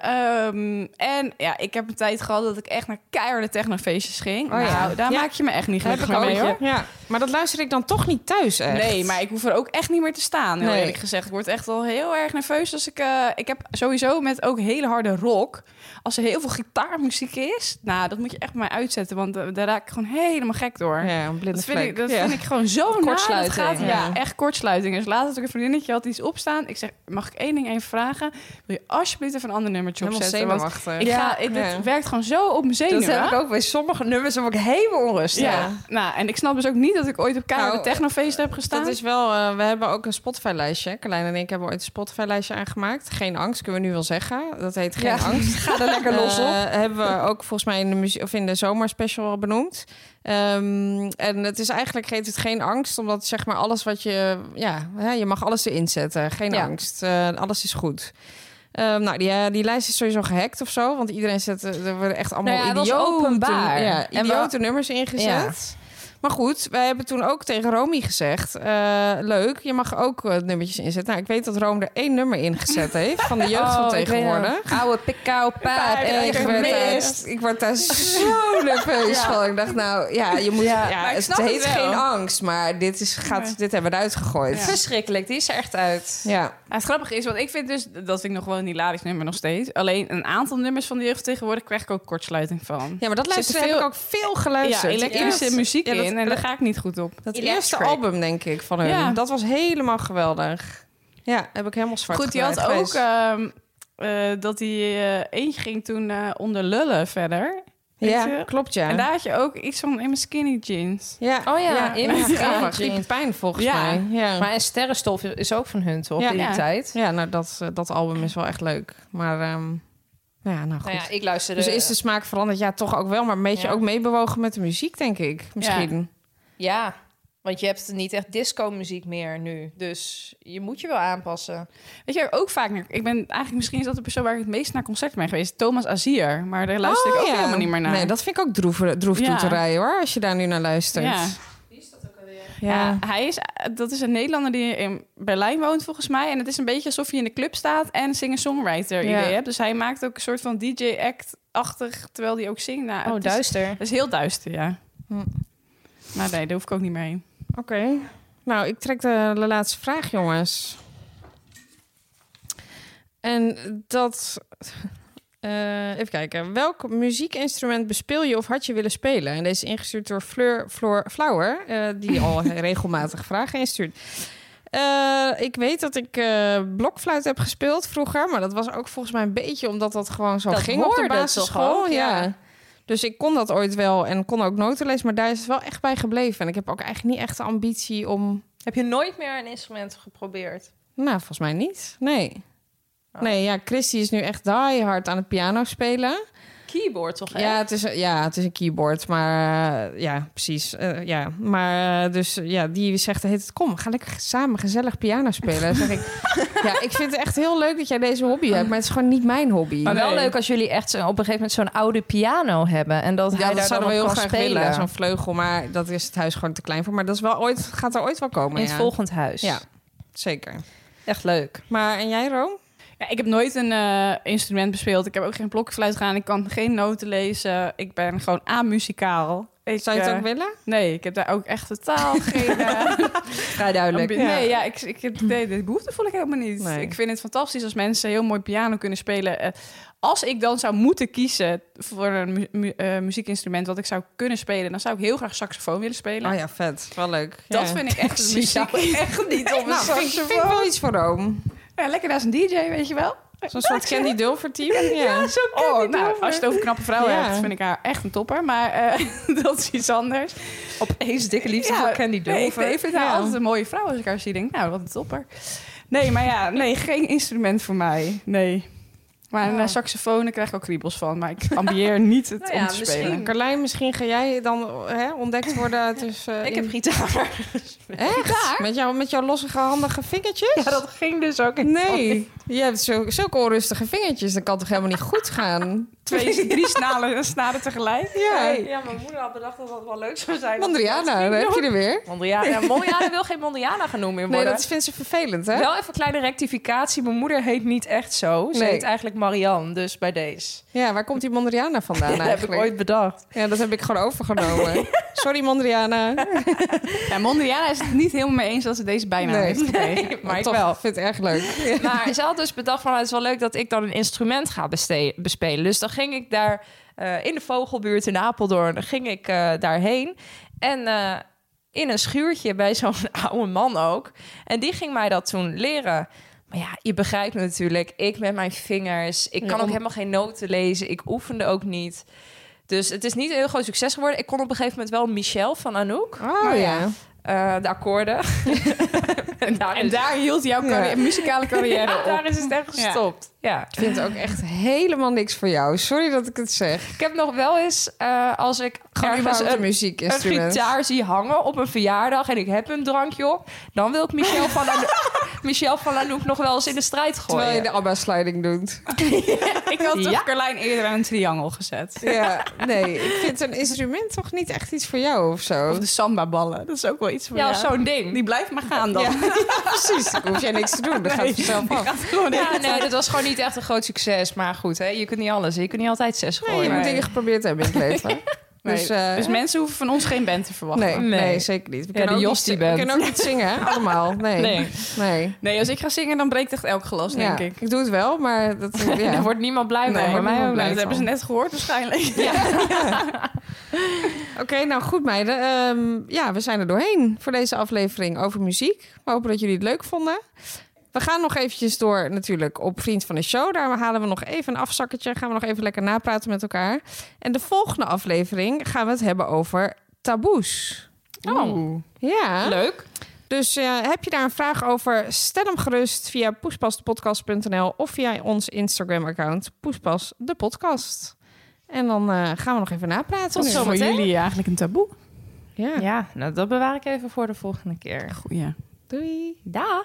Speaker 6: Ehm, en ja, ik heb een tijd gehad dat ik echt naar keiharde technofeestjes ging.
Speaker 5: Oh ja.
Speaker 6: Nou, daar
Speaker 5: Ja.
Speaker 6: maak je me echt niet
Speaker 5: Daar heb
Speaker 6: gelukkig
Speaker 5: ik ook.
Speaker 6: mee, hoor.
Speaker 5: Ja, maar dat luister ik dan toch niet thuis echt.
Speaker 6: Nee, maar ik hoef er ook echt niet meer te staan, heel
Speaker 5: Nee.
Speaker 6: eerlijk gezegd. Ik word echt al heel erg nerveus als ik... eh, ik heb sowieso met ook hele harde rock... Als er heel veel gitaarmuziek is... Nou, dat moet je echt bij mij uitzetten, want eh, daar raak ik gewoon helemaal gek door.
Speaker 5: Ja, een blinde
Speaker 6: Dat vind,
Speaker 5: vlek.
Speaker 6: ik, dat
Speaker 5: Ja.
Speaker 6: vind ik gewoon zo na.
Speaker 7: Kortsluiting,
Speaker 6: Dat gaat, ja.
Speaker 5: ja.
Speaker 6: echt kortsluiting. Dus laatst had ik een vriendinnetje had iets opstaan. Ik zeg, mag ik één ding even vragen? Wil je alsjeblieft even een ander nummertje
Speaker 5: Helemaal
Speaker 6: opzetten? Want
Speaker 5: zenuwachtig.
Speaker 6: ik ga, ik, dit
Speaker 5: Ja.
Speaker 6: werkt gewoon zo op mijn
Speaker 5: Dat
Speaker 6: zenuwen.
Speaker 5: heb ik ook bij sommige nummers. Daar word ik helemaal onrustig.
Speaker 6: Ja. Nou, en ik snap dus ook niet dat ik ooit op keiharde
Speaker 5: Nou,
Speaker 6: technofeest heb gestaan.
Speaker 5: Dat is wel, eh, we hebben ook een Spotify-lijstje. Carlijn en ik hebben ooit een Spotify-lijstje aangemaakt. Geen angst, kunnen we nu wel zeggen. Dat heet Geen
Speaker 7: Ja,
Speaker 5: angst. Ga
Speaker 7: er lekker los op.
Speaker 5: Eh, hebben we ook volgens mij in de, muzie- of in de zomerspecial al benoemd. Ehm, en het is eigenlijk heet het Geen angst, omdat zeg maar alles wat je... Ja, hè, je mag alles erin zetten. Geen
Speaker 7: Ja.
Speaker 5: angst. Eh, alles is goed. Ehm, nou, die, eh, die lijst is sowieso gehackt of zo. Want iedereen zet... eh, Er worden echt allemaal
Speaker 7: Nou ja, het was
Speaker 5: idioten,
Speaker 7: openbaar.
Speaker 5: Ja,
Speaker 7: En we-
Speaker 5: idiote nummers ingezet.
Speaker 7: Ja.
Speaker 5: Maar goed, wij hebben toen ook tegen Romy gezegd... eh, leuk, je mag ook eh, nummertjes inzetten. Nou, ik weet dat Rome er één nummer in gezet heeft... van de jeugd van
Speaker 7: Oh, ik weet
Speaker 5: tegenwoordig.
Speaker 7: nog. Oude pikau paard.
Speaker 5: En Ah, ik,
Speaker 7: echt
Speaker 5: werd
Speaker 7: gemist.
Speaker 5: daar, ik word daar zo nerveus van. Ik dacht, nou ja, je moet, ja,
Speaker 6: maar ik
Speaker 5: het
Speaker 6: snap het
Speaker 5: heet
Speaker 6: wel.
Speaker 5: geen angst, maar dit, is, gaat,
Speaker 6: Nee.
Speaker 5: dit hebben we eruit gegooid. Ja.
Speaker 7: Verschrikkelijk, die is er echt uit.
Speaker 6: Nou, het grappige is, want ik vind dus, dat vind ik nog wel een hilarisch nummer nog steeds. Alleen een aantal nummers van de jeugd tegenwoordig krijg ik ook kortsluiting van.
Speaker 5: Ja, maar dat luister,
Speaker 6: Zit er
Speaker 5: heb ik
Speaker 6: veel-
Speaker 5: ook veel
Speaker 6: Ja,
Speaker 5: geluisterd.
Speaker 6: elektrische
Speaker 5: Eerst-
Speaker 6: muziek
Speaker 5: ja, dat-
Speaker 6: in en daar ga ik niet goed op.
Speaker 5: Dat
Speaker 7: Electric.
Speaker 5: eerste album, denk ik, van hun.
Speaker 6: Ja.
Speaker 5: Dat was helemaal geweldig. Ja, heb ik helemaal zwart
Speaker 6: Goed, die had
Speaker 5: gedraaid
Speaker 6: ook
Speaker 5: geweest.
Speaker 6: ehm, eh, dat hij eh, eentje ging toen eh, onder lullen verder. weet
Speaker 5: Ja,
Speaker 6: je?
Speaker 5: klopt, ja.
Speaker 6: En daar had je ook iets van in mijn skinny jeans.
Speaker 5: ja.
Speaker 7: Oh ja, in mijn
Speaker 5: ja.
Speaker 7: skinny
Speaker 5: Griep
Speaker 7: jeans.
Speaker 5: pijn volgens
Speaker 6: Ja.
Speaker 5: mij. Ja.
Speaker 7: Maar en Sterrenstof is ook van hun, toch?
Speaker 5: Ja.
Speaker 7: in die
Speaker 6: Ja.
Speaker 7: tijd.
Speaker 5: ja, nou dat, eh, dat album is wel echt leuk. Maar ehm, ja, nou goed.
Speaker 7: Nou ja, ik luisterde...
Speaker 5: Dus is de smaak veranderd? Ja, toch ook wel. Maar een beetje
Speaker 7: Ja.
Speaker 5: ook meebewogen met de muziek, denk ik. Misschien.
Speaker 7: Ja, want je hebt niet echt disco-muziek meer nu. Dus je moet je wel aanpassen.
Speaker 6: Weet je, waar ik ook vaak naar... Ik ben eigenlijk misschien is dat de persoon waar ik het meest naar concert ben geweest. Thomas Azier. Maar daar luister ik
Speaker 5: Oh,
Speaker 6: ook
Speaker 5: ja.
Speaker 6: helemaal niet meer naar.
Speaker 5: Nee, dat vind ik ook droef, droef
Speaker 6: Ja.
Speaker 5: toeterij, hoor. Als je daar nu naar luistert.
Speaker 6: Ja.
Speaker 5: Ja.
Speaker 6: Ja, hij is, dat is een Nederlander die in Berlijn woont volgens mij. En het is een beetje alsof je in de club staat en singer-songwriter
Speaker 5: Ja.
Speaker 6: idee hebt. Dus hij maakt ook een soort van DJ-act-achtig, terwijl hij ook zingt. Nou, het is-
Speaker 7: duister.
Speaker 6: Het is heel duister, ja.
Speaker 5: Oh, Hm.
Speaker 6: Maar nee, daar hoef ik ook niet meer heen.
Speaker 5: Oké. Nou, ik trek de, de laatste vraag, jongens. En dat... eh, even kijken. Welk muziekinstrument bespeel je of had je willen spelen? En deze is ingestuurd door Fleur, Floor Flower, eh, die al regelmatig vragen instuurt. Eh, ik weet dat ik eh, blokfluit heb gespeeld vroeger, maar dat was ook volgens mij een beetje omdat dat gewoon zo
Speaker 7: Dat
Speaker 5: ging op de
Speaker 7: hoorde toch
Speaker 5: basisschool.
Speaker 7: ook,
Speaker 5: ja.
Speaker 7: ja.
Speaker 5: Dus ik kon dat ooit wel en kon ook noten lezen, maar daar is het wel echt bij gebleven. En ik heb ook eigenlijk niet echt de ambitie om.
Speaker 7: Heb je nooit meer een instrument geprobeerd?
Speaker 5: Nou, volgens mij niet. Nee.
Speaker 7: Oh.
Speaker 5: Nee, ja, Christy is nu echt die hard aan het piano spelen.
Speaker 7: Oh, Keyboard toch?
Speaker 5: Ja, het is, ja, het is een keyboard, maar eh, ja, precies. Eh, ja, maar eh, dus ja, die zegt, heet het, kom, ga lekker samen gezellig piano spelen. Dan zeg ik, ja, ik vind het echt heel leuk dat jij deze hobby hebt, maar het is gewoon niet mijn hobby.
Speaker 7: Maar wel
Speaker 6: Nee.
Speaker 7: leuk als jullie echt zo- op een gegeven moment zo'n oude piano hebben. En dat
Speaker 5: Ja,
Speaker 7: hij
Speaker 5: dat
Speaker 7: daar dan
Speaker 5: zouden we
Speaker 7: op
Speaker 5: heel
Speaker 7: kan
Speaker 5: graag
Speaker 7: spelen.
Speaker 5: willen, zo'n vleugel. Maar dat is het huis gewoon te klein voor. Maar dat is wel ooit, gaat er ooit wel komen,
Speaker 7: in het
Speaker 5: ja.
Speaker 7: volgend huis.
Speaker 5: Ja, zeker.
Speaker 7: Echt leuk.
Speaker 5: Maar en jij, Room?
Speaker 6: Ja, ik heb nooit een eh, instrument bespeeld. Ik heb ook geen blokfluit gedaan. Ik kan geen noten lezen. Ik ben gewoon amuzikaal. Ik,
Speaker 5: Zou je het
Speaker 6: eh,
Speaker 5: ook willen?
Speaker 6: Nee, ik heb daar ook echt totaal geen... eh,
Speaker 7: Vrij duidelijk.
Speaker 6: Ambi- Nee, ja, ik, ik, heb- nee, de behoefte voel ik helemaal niet.
Speaker 5: Nee.
Speaker 6: Ik vind het fantastisch als mensen heel mooi piano kunnen spelen. Eh, als ik dan zou moeten kiezen voor een mu- mu- eh, muziekinstrument wat ik zou kunnen spelen, dan zou ik heel graag saxofoon willen spelen.
Speaker 5: Oh ja, vet. Wel leuk.
Speaker 6: Dat vind ik echt een muziek. echt niet op een
Speaker 5: Nou, vind, ik- vind ik
Speaker 6: saxofoon.
Speaker 5: wel iets voor Room.
Speaker 6: Ja, lekker naar zijn DJ, weet je wel.
Speaker 5: Zo'n soort Candy Dulfer team. Ja,
Speaker 6: zo oh, nou, als je het over knappe vrouwen
Speaker 5: Ja.
Speaker 6: hebt, vind ik haar echt een topper. Maar eh, dat is iets anders.
Speaker 7: Opeens dikke liefde
Speaker 6: Ja,
Speaker 7: voor Candy
Speaker 6: Nee, ik,
Speaker 7: Dulfer.
Speaker 6: ik vind haar
Speaker 5: Ja.
Speaker 6: altijd een mooie vrouw als ik haar zie. Denk, nou, wat een topper. Nee, maar ja, nee, geen instrument voor mij. Nee. Maar een eh, saxofoon, daar krijg ik ook kriebels van. Maar ik ambieer niet het
Speaker 7: Nou ja,
Speaker 6: om te
Speaker 7: misschien.
Speaker 6: spelen.
Speaker 5: Carlijn, misschien ga jij dan hè, ontdekt worden. dus, eh, tussen
Speaker 7: Ik heb gitaar.
Speaker 5: Echt? Met, jou, met jouw losse handige vingertjes?
Speaker 6: Ja, dat ging dus ook
Speaker 5: Nee. Je hebt zo, zulke onrustige vingertjes. Dat kan toch helemaal niet goed gaan?
Speaker 6: Twee, drie snaren, snaren tegelijk.
Speaker 5: Ja.
Speaker 7: Ja, mijn moeder had bedacht dat dat wel leuk zou zijn.
Speaker 5: Mondriana, daar heb je er weer.
Speaker 7: Mondriana. Ja, Mondriana wil geen Mondriana genoemd meer
Speaker 5: Nee,
Speaker 7: worden.
Speaker 5: dat vindt ze vervelend, hè?
Speaker 7: Wel even een kleine rectificatie. Mijn moeder heet niet echt zo. Ze
Speaker 5: Nee.
Speaker 7: heet eigenlijk Marianne, dus bij deze.
Speaker 5: Ja, waar komt die Mondriana vandaan
Speaker 7: dat heb ik
Speaker 5: eigenlijk?
Speaker 7: ooit bedacht.
Speaker 5: Ja, dat heb ik gewoon overgenomen. Sorry, Mondriana.
Speaker 6: Ja, Mondriana is het niet helemaal mee eens dat ze deze bijnaam
Speaker 5: Nee.
Speaker 6: heeft gekregen.
Speaker 7: Maar ik
Speaker 5: Toch,
Speaker 7: wel.
Speaker 5: vind het erg leuk.
Speaker 7: Maar ze had dus bedacht van, nou, het is wel leuk dat ik dan een instrument ga beste- bespelen. Dus dan ging ik daar eh, in de Vogelbuurt in Apeldoorn, dan ging ik eh, daarheen. En eh, in een schuurtje bij zo'n oude man ook. En die ging mij dat toen leren. Maar ja, je begrijpt me natuurlijk, ik met mijn vingers, ik kan ook helemaal geen noten lezen, ik oefende ook niet. Dus het is niet een heel groot succes geworden. Ik kon op een gegeven moment wel Michel van Anouk,
Speaker 5: Oh ja.
Speaker 7: eh, de akkoorden. en daar
Speaker 6: En daar hield jouw carrière,
Speaker 5: Ja.
Speaker 6: muzikale carrière
Speaker 7: ja,
Speaker 6: op.
Speaker 7: daar is het echt
Speaker 6: Ja.
Speaker 7: gestopt. Ja.
Speaker 5: Ik vind het ook echt helemaal niks voor jou. Sorry dat ik het zeg.
Speaker 7: Ik heb nog wel eens, eh, als ik
Speaker 5: Gewoon
Speaker 7: ergens
Speaker 5: überhaupt een
Speaker 7: een, een
Speaker 5: muziekinstrument.
Speaker 7: gitaar zie hangen op een verjaardag en ik heb een drankje op, dan wil ik Michel van Lanouk, Michel van Lanouk nog wel eens in de strijd gooien.
Speaker 5: Terwijl je de ABBA-sliding doet.
Speaker 6: Ik had toch
Speaker 7: Ja.
Speaker 6: Carlijn eerder aan een triangel gezet.
Speaker 5: Ja, nee. Ik vind een instrument toch niet echt iets voor jou of zo.
Speaker 6: Of de samba-ballen, dat is ook wel iets voor
Speaker 7: ja,
Speaker 6: jou.
Speaker 7: zo'n ding.
Speaker 6: Die blijft maar gaan dan.
Speaker 5: Ja, precies. Dan hoef jij niks te doen. Dat gaat vanzelf af. Oh,
Speaker 7: Ja, nee, dat was gewoon niet echt een groot succes. Maar goed, hè, je kunt niet alles. Je kunt niet altijd zes gooien.
Speaker 5: Nee, je moet
Speaker 7: Maar-
Speaker 5: dingen geprobeerd hebben in het leven.
Speaker 6: Nee,
Speaker 5: Dus, eh,
Speaker 6: dus mensen hoeven van ons geen band te verwachten.
Speaker 5: nee,
Speaker 6: Nee.
Speaker 5: nee,
Speaker 7: Nee.
Speaker 5: zeker niet. We
Speaker 7: Ja,
Speaker 5: kunnen,
Speaker 7: de
Speaker 5: ook
Speaker 7: Jos
Speaker 5: niet,
Speaker 7: die
Speaker 5: we
Speaker 7: bent.
Speaker 5: kunnen ook niet zingen, hè? allemaal. Nee.
Speaker 7: Nee.
Speaker 5: nee.
Speaker 6: als ik ga zingen, dan breekt echt elk glas,
Speaker 5: Ja,
Speaker 6: denk ik.
Speaker 5: ik doe het wel, maar dat...
Speaker 7: Daar
Speaker 5: Ja.
Speaker 7: wordt niemand blij
Speaker 5: Nee,
Speaker 7: van. Bij
Speaker 5: wordt
Speaker 7: mij
Speaker 5: niemand
Speaker 7: ook
Speaker 5: blij
Speaker 7: niet.
Speaker 6: dat hebben ze net gehoord waarschijnlijk.
Speaker 5: Oké, nou goed meiden. Ehm, ja, we zijn er doorheen voor deze aflevering over muziek. We hopen dat jullie het leuk vonden. We gaan nog eventjes door natuurlijk op Vriend van de Show. Daar halen we nog even een afzakketje. Gaan we nog even lekker napraten met elkaar. En de volgende aflevering gaan we het hebben over taboes.
Speaker 6: Oh,
Speaker 5: Ja.
Speaker 6: leuk.
Speaker 5: Dus eh, heb je daar een vraag over? Stel hem gerust via poespasdepodcast.nl of via ons Instagram-account Poespas de Podcast. En dan eh, gaan we nog even napraten.
Speaker 7: Tot
Speaker 5: nu.
Speaker 7: zo.
Speaker 6: Dus Voor
Speaker 7: Zometeen?
Speaker 6: jullie eigenlijk een taboe.
Speaker 5: Ja.
Speaker 7: Ja, nou, dat bewaar ik even voor de volgende keer.
Speaker 6: Goeie.
Speaker 5: Doei.
Speaker 7: Dag.